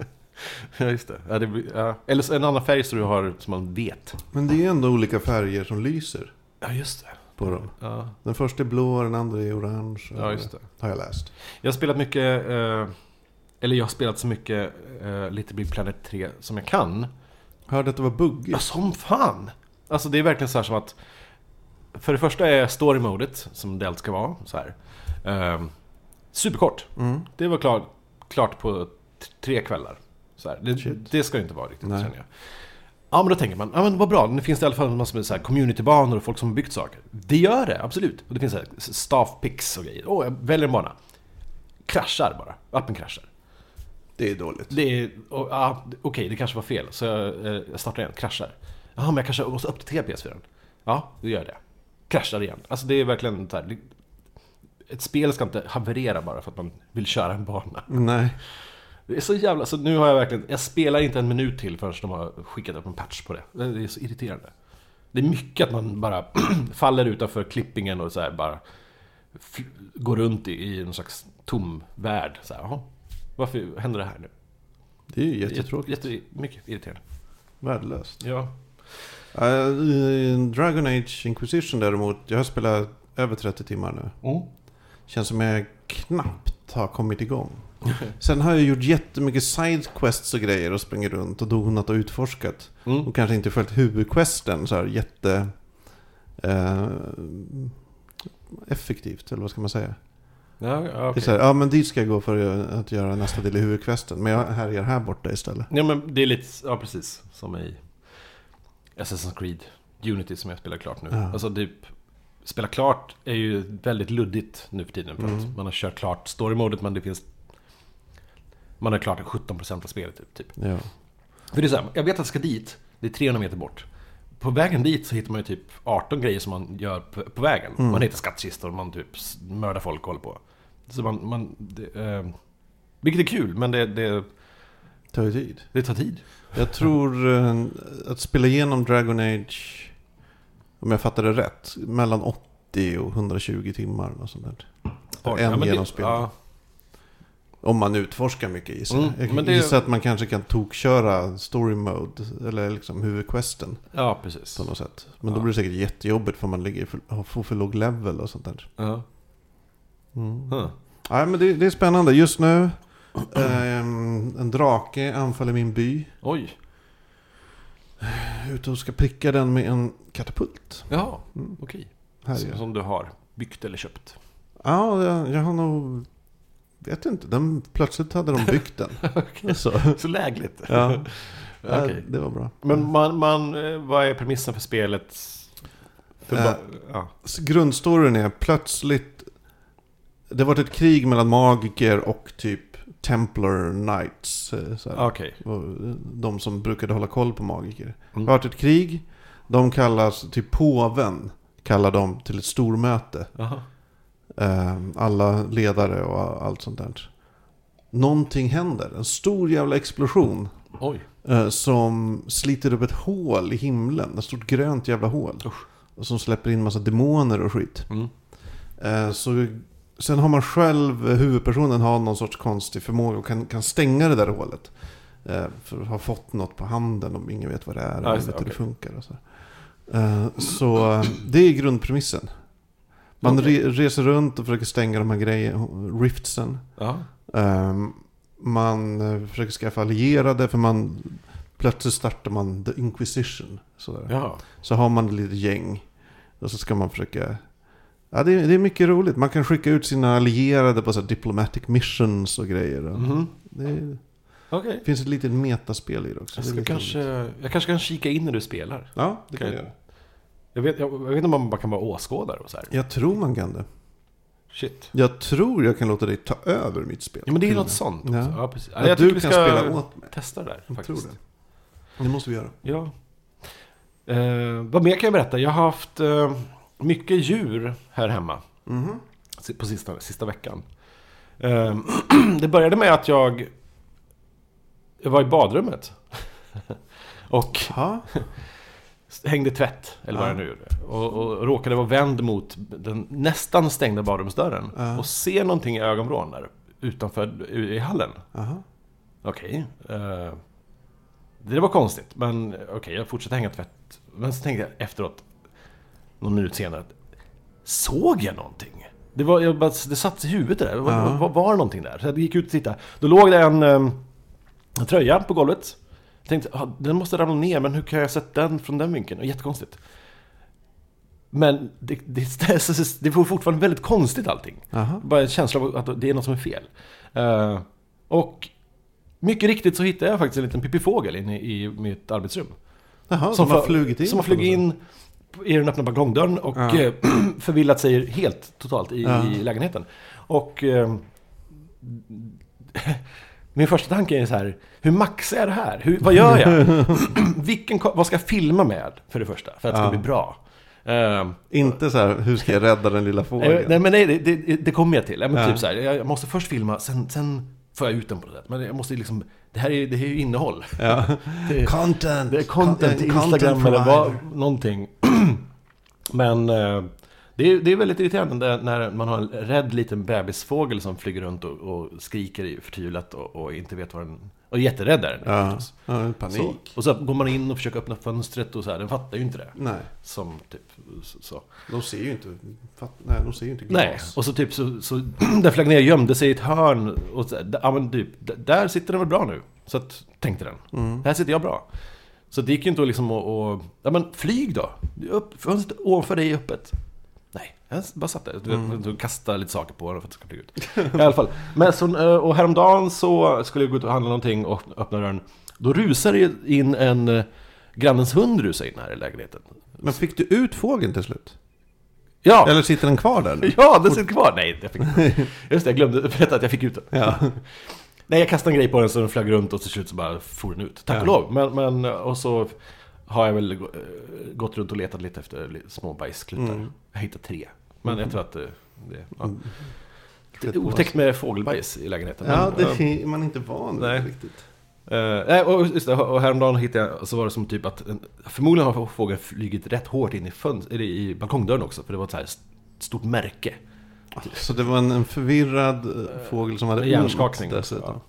Speaker 1: ja, just det. Ja, det blir, ja. Eller så en annan färg så du har, som man vet.
Speaker 2: Men det är ändå olika färger som lyser
Speaker 1: Ja, just det.
Speaker 2: på dem.
Speaker 1: Ja,
Speaker 2: Den första är blå, den andra är orange.
Speaker 1: ja just det.
Speaker 2: Har jag läst.
Speaker 1: Jag har spelat mycket eh, Eller jag har spelat så mycket eh, Little Big Planet 3 som jag kan.
Speaker 2: Hörde att det var buggigt.
Speaker 1: Ja, som fan! Alltså det är verkligen så här som att... För det första är story-modet, som det allt ska vara, så här. ehm, superkort.
Speaker 2: Mm.
Speaker 1: Det var klart, klart på t- tre kvällar. Så här.
Speaker 2: Shit.
Speaker 1: Det, det ska det inte vara riktigt,
Speaker 2: Nej.
Speaker 1: känner jag. Ja, men då tänker man, ja men vad bra, nu finns det i alla fall en massa med så här communitybanor och folk som har byggt saker. Det gör det, absolut. Och det finns så här staff picks och grejer. Åh, jag väljer en bana. Kraschar bara. Appen kraschar.
Speaker 2: Det är dåligt.
Speaker 1: Det är, och, ja, okej, det kanske var fel. Så jag, eh, jag startar igen, kraschar. Jaha, men jag kanske måste uppdatera PS4. Ja, då gör jag det. Kraschar igen. Alltså det är verkligen så här, det- Ett spel ska inte haverera bara för att man vill köra en bana.
Speaker 2: Nej.
Speaker 1: Det är så jävla... Så nu har jag verkligen... Jag spelar inte en minut till förrän de har skickat upp en patch på det. Det är så irriterande. Det är mycket att man bara <clears throat> faller utanför klippingen och så här bara... fl- Går runt i, i någon slags tom värld. Så här, jaha, varför händer det här nu?
Speaker 2: Det är ju jättetråkigt.
Speaker 1: Jätte, jätte- mycket irriterande.
Speaker 2: Värdelöst.
Speaker 1: Ja.
Speaker 2: Eh, i Dragon Age Inquisition däremot. Jag har spelat över 30 timmar nu.
Speaker 1: Mm.
Speaker 2: Känns som jag knappt har kommit igång. Sen har jag gjort jättemycket sidequests och grejer och sprungit runt och donat och utforskat.
Speaker 1: Mm.
Speaker 2: Och kanske inte följt huvudquesten så här jätte... Eh, effektivt, eller vad ska man säga?
Speaker 1: Ja, ja,
Speaker 2: Det är
Speaker 1: okej.
Speaker 2: så här, ja men dit ska jag gå för att göra nästa del i huvudquesten. Men jag härjar här borta istället.
Speaker 1: ja, men det är lite... Ja, precis. Som i Assassin's Creed Unity som jag spelar klart nu.
Speaker 2: Ja.
Speaker 1: Alltså typ... Spela klart är ju väldigt luddigt nu för tiden. För
Speaker 2: Mm.
Speaker 1: att man har kört klart story-modet men det finns... Man har klart 17% av spelet typ. typ.
Speaker 2: Ja.
Speaker 1: För det är så här, jag vet att jag ska dit. Det är 300 meter bort. På vägen dit så hittar man ju typ 18 grejer som man gör på, på vägen.
Speaker 2: Mm.
Speaker 1: Man hittar skattkistor, man typ s- mördar folk och håller på. Så man... man det, eh, vilket är kul, men det, det,
Speaker 2: Tar ju tid.
Speaker 1: det tar tid.
Speaker 2: Jag tror eh, att spela igenom Dragon Age, om jag fattar det rätt, mellan 80 och 120 timmar. Och sånt där. En
Speaker 1: men det-
Speaker 2: genomspelning.
Speaker 1: ja.
Speaker 2: Om man utforskar mycket gissar
Speaker 1: Mm,
Speaker 2: jag.
Speaker 1: men
Speaker 2: Jag
Speaker 1: det-
Speaker 2: gissar att man kanske kan tokköra story mode, eller liksom huvudquesten
Speaker 1: ja, precis.
Speaker 2: på något sätt. Men då
Speaker 1: Ja.
Speaker 2: blir det säkert jättejobbigt för man ligger, för, har- får för låg level och sånt där.
Speaker 1: Ja.
Speaker 2: Mm.
Speaker 1: Huh.
Speaker 2: Nej men det, det är spännande. Just nu, ehm, en drake anfaller min by.
Speaker 1: Oj.
Speaker 2: Jag är ute och ska pricka den med en katapult.
Speaker 1: Ja,
Speaker 2: Mm.
Speaker 1: okej.
Speaker 2: Här är
Speaker 1: Som,
Speaker 2: jag.
Speaker 1: som du har byggt eller köpt.
Speaker 2: <laughs> Ja, jag, jag har nog... Vet inte. Den, plötsligt hade de
Speaker 1: <laughs>
Speaker 2: byggt den.
Speaker 1: Okej.
Speaker 2: Så,
Speaker 1: Så lägligt.
Speaker 2: ja,
Speaker 1: Alltså. Okej.
Speaker 2: eh, det var bra.
Speaker 1: Men man, man, eh, vad är premissen för spelet? För
Speaker 2: Eh,
Speaker 1: ba- ja.
Speaker 2: Så Grundstoryn är plötsligt... Det har varit ett krig mellan magiker och typ Templar Knights. eh, Så här.
Speaker 1: Okej.
Speaker 2: Och, eh, De som brukade hålla koll på magiker.
Speaker 1: Mm.
Speaker 2: Det har varit ett krig. De kallas till påven. Kallar de till ett stormöte.
Speaker 1: Jaha.
Speaker 2: Eh, Alla ledare och allt sånt där. Någonting händer. En stor jävla explosion.
Speaker 1: Oj.
Speaker 2: eh, Som sliter upp ett hål i himlen. Ett stort grönt jävla hål.
Speaker 1: Usch.
Speaker 2: Och som släpper in massa demoner och skit.
Speaker 1: Mm.
Speaker 2: Eh, Så, sen har man själv, eh, huvudpersonen har någon sorts konstig förmåga och kan, kan stänga det där hålet. Eh, För att ha fått något på handen och ingen vet vad det är.
Speaker 1: Ja,
Speaker 2: eller
Speaker 1: just
Speaker 2: vet
Speaker 1: det,
Speaker 2: hur det
Speaker 1: okej.
Speaker 2: funkar och så. här. Eh, Så eh, det är grundpremissen. Man
Speaker 1: Okej.
Speaker 2: re, reser runt och försöker stänga de här grejerna, riftsen.
Speaker 1: Ja.
Speaker 2: Eh, Man eh, försöker skaffa allierade för man plötsligt startar man the inquisition. Sådär.
Speaker 1: Ja.
Speaker 2: Så har man ett litet gäng. Och så ska man försöka... Ja, det är, det är mycket roligt. Man kan skicka ut sina allierade på så här diplomatic missions och grejer. Och
Speaker 1: Mhm.
Speaker 2: det, är,
Speaker 1: Okej.
Speaker 2: det finns ett litet metaspel i det också.
Speaker 1: Jag,
Speaker 2: Det är
Speaker 1: ska
Speaker 2: lite
Speaker 1: kanske,
Speaker 2: roligt.
Speaker 1: jag kanske kan kika in när du spelar.
Speaker 2: Ja, det kan
Speaker 1: Okej.
Speaker 2: jag göra.
Speaker 1: Jag vet, jag, jag vet inte om man bara kan vara åskådare och så här.
Speaker 2: Jag tror man kan det.
Speaker 1: Shit.
Speaker 2: Jag tror jag kan låta dig ta över mitt spel.
Speaker 1: Ja, men det är
Speaker 2: Till
Speaker 1: något
Speaker 2: det.
Speaker 1: sånt.
Speaker 2: Ja.
Speaker 1: också. Ja, precis. Ja,
Speaker 2: Att
Speaker 1: jag
Speaker 2: du
Speaker 1: tycker vi
Speaker 2: kan
Speaker 1: ska
Speaker 2: spela åt mig.
Speaker 1: testa det där
Speaker 2: Jag tror
Speaker 1: faktiskt.
Speaker 2: det. Det måste vi göra.
Speaker 1: Ja. Eh, vad mer kan jag berätta? Jag har haft eh, mycket djur här hemma
Speaker 2: Mhm.
Speaker 1: si- på sista, sista veckan. Eh, <clears throat> det började med att jag, jag var i badrummet. <laughs> och
Speaker 2: Ja,
Speaker 1: hängde tvätt, eller vad
Speaker 2: Ja.
Speaker 1: jag nu gjorde. Och, och råkade vara vänd mot den nästan stängda badrumsdörren.
Speaker 2: Ja.
Speaker 1: Och se någonting i ögonvrån där, utanför i i hallen.
Speaker 2: aha.
Speaker 1: Okej. eh, det var konstigt, men okej, jag fortsatte hänga tvätt. Men så tänkte jag efteråt, någon minut senare, att såg jag någonting? Det, var, jag bara, det satt i huvudet det där. Vad
Speaker 2: Ja.
Speaker 1: vad- vad var det någonting där? Så jag gick ut och tittade. Då låg det en, em, en tröja på golvet. Jag tänkte, ah, den måste ramla ner, men hur kan jag ha sett den från den vinkeln? Och Jättekonstigt. Men det, <laughs> det, det var fortfarande väldigt konstigt allting.
Speaker 2: Aha.
Speaker 1: Bara en känsla av att det är något som är fel. Eh, och mycket riktigt så hittade jag faktiskt en liten pippifågel inne i mitt arbetsrum.
Speaker 2: Jaha, som har
Speaker 1: fa-
Speaker 2: flugit in.
Speaker 1: Som har flugit in i den öppna balkongdörren och
Speaker 2: Ja.
Speaker 1: eh, <clears throat> förvillat sig helt totalt i,
Speaker 2: Ja.
Speaker 1: i lägenheten. Och eh, <laughs> min första tanke är så här, hur maxar jag det här? Hur, vad gör
Speaker 2: <laughs>
Speaker 1: jag? <clears throat> Vilken, ko- vad ska jag filma med för det första? För att det ska
Speaker 2: Ja.
Speaker 1: bli bra. Eh,
Speaker 2: Inte så här, hur ska jag rädda den lilla
Speaker 1: Eh,
Speaker 2: fågeln?
Speaker 1: Nej men nej, det, det, det kommer jag till. Ja, men
Speaker 2: Ja.
Speaker 1: typ så här, jag måste först filma, sen, sen får jag ut den på något sätt. Men jag måste ju liksom, det här är, det här är ju innehåll.
Speaker 2: Ja.
Speaker 1: Det,
Speaker 2: Content!
Speaker 1: det är content,
Speaker 2: Con- content
Speaker 1: Instagram eller vad,
Speaker 2: provider.
Speaker 1: någonting. <clears throat> men eh, det är, det är väldigt irriterande när- när man har en rädd liten bebisfågel som flyger runt och, och skriker i förtvivlat och, och inte vet vad den... Och är jätterädd är den ju
Speaker 2: Ja,
Speaker 1: förstås.
Speaker 2: ja det är
Speaker 1: Så,
Speaker 2: panik.
Speaker 1: och så går man in och försöker öppna fönstret och så här, den fattar ju inte det.
Speaker 2: Nej,
Speaker 1: Som typ så- så.
Speaker 2: de ser ju inte, fatt, nej, de ser ju inte glas.
Speaker 1: Nej, och så typ så, så <clears throat> den flög ner, gömde sig i ett hörn och så, d- ja, men typ, d- där sitter den väl bra nu. Så att, tänkte den. Här sitter jag bra. Så det gick ju inte att liksom och, och, ja men flyg då! Upp, fönstret ovanför dig är öppet. Nej, jag s- bara satt där. Du, vet, du kastar lite saker på den för att det ska flyga ut. I alla fall. Men så, eh, och häromdagen så skulle jag gå ut och handla någonting och öppna dörren. Då rusar det ju in en... eh, Grannens hund rusar in här i lägenheten.
Speaker 2: Men fick du ut fågeln till slut?
Speaker 1: Ja!
Speaker 2: Eller sitter den kvar där nu?
Speaker 1: <laughs> Ja, den sitter kvar! Nej, jag fick Just det, jag glömde berätta att jag fick ut den.
Speaker 2: <laughs> Ja.
Speaker 1: Nej, jag kastade en grej på den så den flög runt och till slut så bara for den ut. Tack och lov! Men, men, och så har jag väl gå- eh, gått runt och letat lite efter li- små bajsklutar.
Speaker 2: Mm.
Speaker 1: Jag hittade tre. Men jag tror att eh, det... Ja. Det är otäckt med fågelbajs i lägenheten.
Speaker 2: Ja,
Speaker 1: men,
Speaker 2: det
Speaker 1: eh,
Speaker 2: är man inte van
Speaker 1: Nej.
Speaker 2: vid riktigt.
Speaker 1: Eh, nej, och, just det, och häromdagen hittade jag, så var det som typ att en, Förmodligen har fågeln flugit rätt hårt in i, fönst, eller i balkongdörren också För det var ett så här st- stort märke
Speaker 2: Så det var en, en förvirrad eh, fågel som hade
Speaker 1: En hjärnskakning.
Speaker 2: ont dessutom.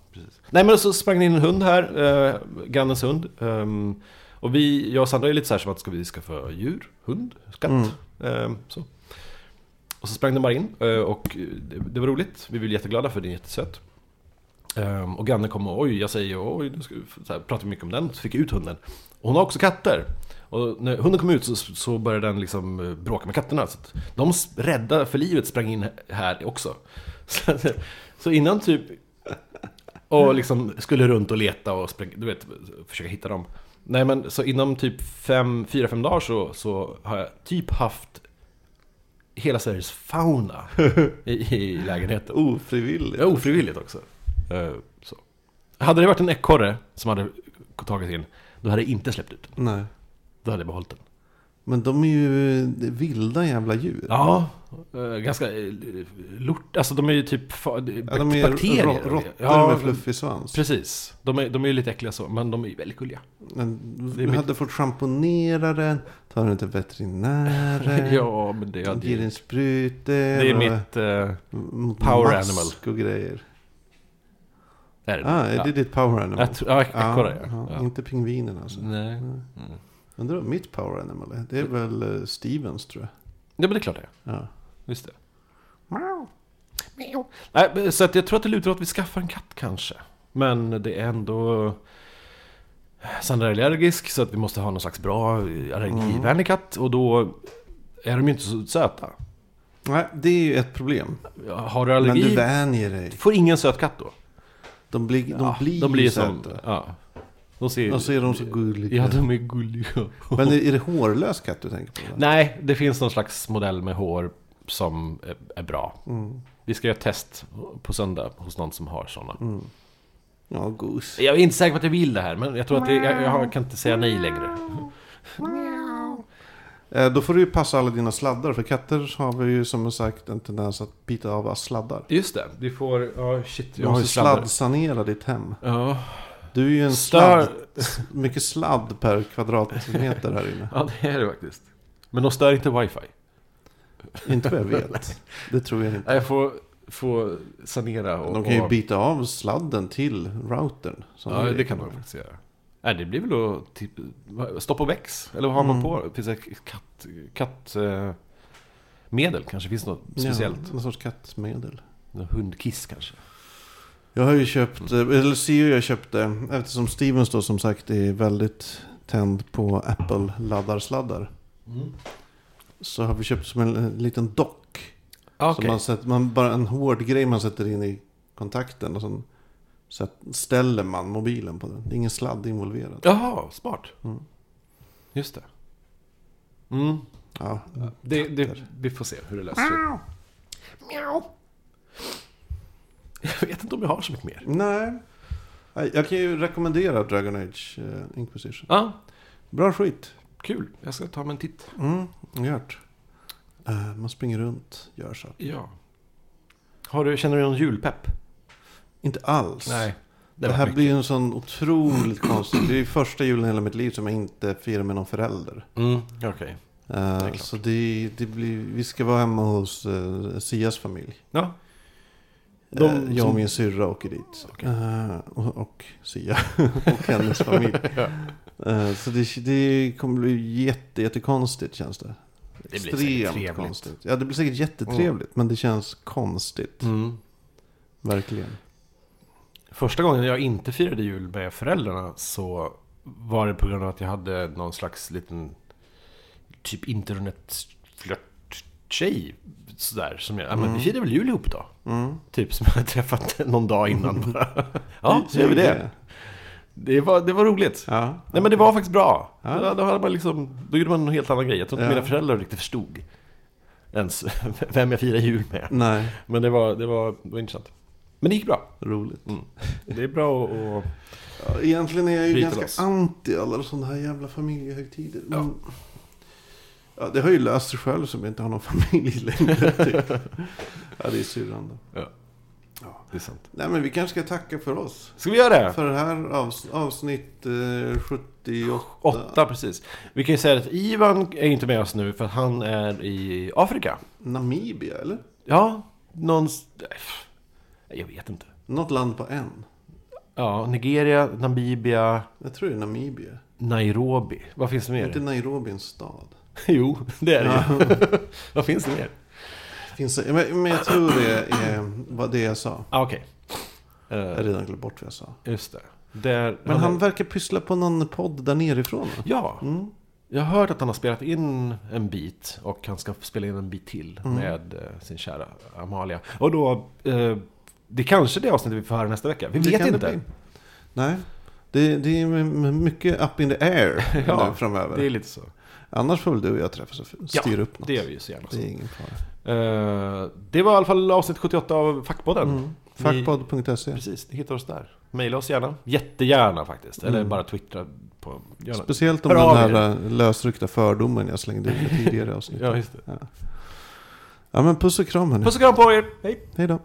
Speaker 1: Nej men så sprang det in en hund här, eh, grannens hund. Ehm, och vi, jag och Sandra är lite så här som att ska vi skaffa djur, hund, skatt. Ehm, så. Och så sprang den bara in eh, och det, det var roligt. Vi blev jätteglada för den är jättesöt. Ehm, och grannen kom och oj, jag säger oj, nu ska vi, så här, pratade vi mycket om den. Så fick jag ut hunden. Och hon har också katter. Och när hunden kom ut så, så började den liksom eh, bråka med katterna. Så att de s- rädda för livet sprang in här också. Så, så innan typ och liksom skulle runt och leta och spräng, du vet, försöka hitta dem. Nej men så inom typ 4-5 dagar så, så har jag typ haft hela Sveriges fauna i, i lägenheten.
Speaker 2: Ofrivilligt.
Speaker 1: Ja, ofrivilligt också. Eh, Så. Hade det varit en ekorre som hade tagit in, då hade jag inte släppt ut den.
Speaker 2: Nej.
Speaker 1: Då hade jag behållit den.
Speaker 2: Men de är ju eh, vilda jävla djur.
Speaker 1: Ja, eh, ganska eh, lort, alltså de är ju typ fa-
Speaker 2: Ja, de är
Speaker 1: bakterier.
Speaker 2: rå- råttor med fluffig svans.
Speaker 1: Precis, de är, de är ju lite äckliga så, men de är ju väldigt gulliga.
Speaker 2: Men
Speaker 1: Det är
Speaker 2: Du
Speaker 1: mitt-
Speaker 2: hade fått schamponera den, ta den till
Speaker 1: <laughs>
Speaker 2: veterinären,
Speaker 1: Ja, men det, ja,
Speaker 2: ge
Speaker 1: det,
Speaker 2: den sprutor.
Speaker 1: det är
Speaker 2: och
Speaker 1: mitt... eh,
Speaker 2: mot
Speaker 1: power
Speaker 2: mask
Speaker 1: animal.
Speaker 2: och grejer.
Speaker 1: är det
Speaker 2: Ah, är
Speaker 1: ja.
Speaker 2: det ditt power animal?
Speaker 1: Jag tror- ja, ekorre
Speaker 2: ja,
Speaker 1: ja.
Speaker 2: ja.
Speaker 1: ja.
Speaker 2: Inte pingvinen alltså.
Speaker 1: Nej. Mm.
Speaker 2: Undrar vad mitt power animal är. Det är väl eh, Stevens tror jag.
Speaker 1: Ja, men det är klart det är.
Speaker 2: Ja.
Speaker 1: Just det. Nej, men så att jag tror att det lutar åt att vi skaffar en katt kanske. Men det är ändå... eh, Sandra är allergisk så att vi måste ha någon slags bra eh,
Speaker 2: Mm.
Speaker 1: allergivänlig katt. Och då är de ju inte så söta.
Speaker 2: Nej, det är ju ett problem.
Speaker 1: Har du
Speaker 2: Men du
Speaker 1: allergi,
Speaker 2: vänjer dig.
Speaker 1: får ingen söt katt då.
Speaker 2: De blir, de
Speaker 1: Ja,
Speaker 2: blir,
Speaker 1: de blir
Speaker 2: ju
Speaker 1: som,
Speaker 2: söta.
Speaker 1: ja. De ser,
Speaker 2: Och så är de så gulliga.
Speaker 1: Ja, de är gulliga.
Speaker 2: Men är, är det hårlös katt du tänker på? då?
Speaker 1: Nej, det finns någon slags modell med hår som är- är bra.
Speaker 2: Mm,
Speaker 1: Vi ska göra ett test på söndag hos någon som har sådana.
Speaker 2: mm. Ja, gos.
Speaker 1: Jag är inte säker på att jag vill det här, men jag tror att det, jag, jag kan inte säga nej längre.
Speaker 2: Eh, Då får du ju passa alla dina sladdar. För katter har vi ju som sagt en tendens att bita av oss sladdar.
Speaker 1: Just det, vi får... Ja, shit.
Speaker 2: Du
Speaker 1: Jag har ju
Speaker 2: måste
Speaker 1: sladdar.
Speaker 2: sladdsanera ditt hem.
Speaker 1: Ja,
Speaker 2: Du är ju en
Speaker 1: Stör-
Speaker 2: sladd. s- Mycket sladd per kvadratmeter här inne.
Speaker 1: ja, det är det faktiskt. Men de stör inte wifi.
Speaker 2: Inte vad jag <laughs> vet. Det tror jag inte.
Speaker 1: Nej, Jag får, får sanera och...
Speaker 2: De kan ju
Speaker 1: och-
Speaker 2: bita av sladden till routern. Så
Speaker 1: Ja, det kan de faktiskt göra. Nej, det blir väl att typ, Mm. vad- stopp och väx? Eller vad har man på? Finns det katt... katt eh, medel kanske? Finns det något speciellt?
Speaker 2: Ja, någon sorts kattmedel.
Speaker 1: Någon hundkiss kanske?
Speaker 2: Jag har ju köpt, eh, eller Sio jag köpte, eh, eftersom Stevens då som sagt är väldigt tänd på Apple-laddarsladdar.
Speaker 1: Mm.
Speaker 2: Så har vi köpt som en, en liten dock.
Speaker 1: Ah,
Speaker 2: Som man sätter, man, bara en hård grej man sätter in i kontakten och sen sätt, ställer man mobilen på den. Det är ingen sladd involverad.
Speaker 1: Jaha, smart.
Speaker 2: Mm.
Speaker 1: Just det. Mm.
Speaker 2: Ja,
Speaker 1: Det, det,
Speaker 2: Katter.
Speaker 1: vi får se hur det löser sig. Jag vet inte om jag har så mycket mer.
Speaker 2: Nej. Nej, Jag kan ju rekommendera Dragon Age eh, Inquisition.
Speaker 1: Ja,
Speaker 2: Bra skit.
Speaker 1: kul. Jag ska ta mig en titt.
Speaker 2: Mm, gjort. Eh, Man springer runt, gör så.
Speaker 1: Ja. Har du, känner du någon julpepp?
Speaker 2: Inte alls.
Speaker 1: Det,
Speaker 2: Det,
Speaker 1: var
Speaker 2: här
Speaker 1: mycket.
Speaker 2: blir ju en sån otroligt konstig... Det är ju första julen i hela mitt liv som jag inte firar med någon förälder.
Speaker 1: Mm, okej.
Speaker 2: Eh,
Speaker 1: klart.
Speaker 2: så det, det blir... Vi ska vara hemma hos eh, Sias familj.
Speaker 1: Ja.
Speaker 2: De,
Speaker 1: De
Speaker 2: jag och
Speaker 1: som-
Speaker 2: min syrra åker dit.
Speaker 1: Okej.
Speaker 2: Eh, och, och Sia <laughs> och hennes
Speaker 1: <laughs>
Speaker 2: familj. Eh, så det, det kommer bli jätte, jättekonstigt känns det.
Speaker 1: blir säkert
Speaker 2: Extremt
Speaker 1: trevligt.
Speaker 2: Konstigt. Ja, det blir säkert jättetrevligt. Men det känns konstigt.
Speaker 1: Mm.
Speaker 2: Verkligen.
Speaker 1: Första gången jag inte firade jul med föräldrarna så var det på grund av att jag hade någon slags liten typ internetflört-tjej sådär. Som jag, ja men vi firar väl jul ihop då?
Speaker 2: Mm.
Speaker 1: Typ som jag hade träffat <laughs> någon dag innan bara. <laughs> Ja, så gör vi det. Det var, det var roligt.
Speaker 2: Mm. Ja.
Speaker 1: Nej men det var faktiskt bra.
Speaker 2: Ja.
Speaker 1: Då, då, hade man liksom, då gjorde man en helt annan grej. Jag tror inte
Speaker 2: Ja.
Speaker 1: mina föräldrar riktigt förstod ens <laughs> vem jag firar jul med.
Speaker 2: Nej,
Speaker 1: Men det var, det var, det var intressant. Men det gick bra.
Speaker 2: roligt.
Speaker 1: Det är bra att... Och...
Speaker 2: Ja, egentligen är jag ju
Speaker 1: Bryter
Speaker 2: ganska
Speaker 1: loss.
Speaker 2: anti alla sådana här jävla familjehögtider.
Speaker 1: Ja.
Speaker 2: Men, ja, det har ju löst sig själv som jag inte har någon <laughs> familj längre. Typ. ja, det är syrran då.
Speaker 1: Det är sant.
Speaker 2: Nej, men vi kanske ska tacka för oss.
Speaker 1: Ska vi göra det?
Speaker 2: För det här avs- avsnitt eh, 78.
Speaker 1: Åtta, precis. Vi kan ju säga att Ivan är inte med oss nu för att han är i Afrika.
Speaker 2: Namibia, eller?
Speaker 1: Ja, någonstans... Jag vet inte.
Speaker 2: Något land på en.
Speaker 1: Ja, Nigeria, Namibia,
Speaker 2: Jag tror det är Namibia.
Speaker 1: Nairobi. Vad finns det
Speaker 2: Är
Speaker 1: mer?
Speaker 2: inte Nairobi en stad?
Speaker 1: <laughs> Jo, det är det ju. <laughs> Vad finns det mer?
Speaker 2: Finns det, men, men jag tror det är vad det jag sa.
Speaker 1: Ah, Okej. Eh,
Speaker 2: Jag har redan glömt bort vad jag sa.
Speaker 1: just det. Där,
Speaker 2: Men han verkar pyssla på någon podd där nerifrån. va?
Speaker 1: Ja.
Speaker 2: Mm.
Speaker 1: Jag har hört att han har spelat in en bit och han ska spela in en bit till med eh, sin kära Amalia. Och då, eh, det kanske är det avsnittet vi får höra nästa vecka. Vi
Speaker 2: Det
Speaker 1: vet
Speaker 2: kan det
Speaker 1: inte.
Speaker 2: bli. Nej, det, det är m- m- mycket up in the
Speaker 1: <laughs>
Speaker 2: air
Speaker 1: Ja,
Speaker 2: nu framöver.
Speaker 1: Det är lite så.
Speaker 2: Annars får väl du och jag träffas och f-
Speaker 1: Ja,
Speaker 2: styra upp något.
Speaker 1: Det gör vi ju så gärna.
Speaker 2: Det är ingen fara.
Speaker 1: Eh, det var i alla fall avsnitt 78 av Fackpodden.
Speaker 2: Mm.
Speaker 1: Vi-
Speaker 2: Fackpodd.se.
Speaker 1: Precis, ni hittar oss där. Mm. Maila oss gärna. Jättegärna faktiskt. Eller bara twittra på... Gärna.
Speaker 2: Speciellt om
Speaker 1: Hör
Speaker 2: den
Speaker 1: av
Speaker 2: här eh, lösryckta fördomen jag slängde
Speaker 1: <laughs>
Speaker 2: ut i tidigare avsnitt.
Speaker 1: Ja, just det.
Speaker 2: Ja men puss och kram hörni.
Speaker 1: Puss och kram på er! Hej!
Speaker 2: Hej då.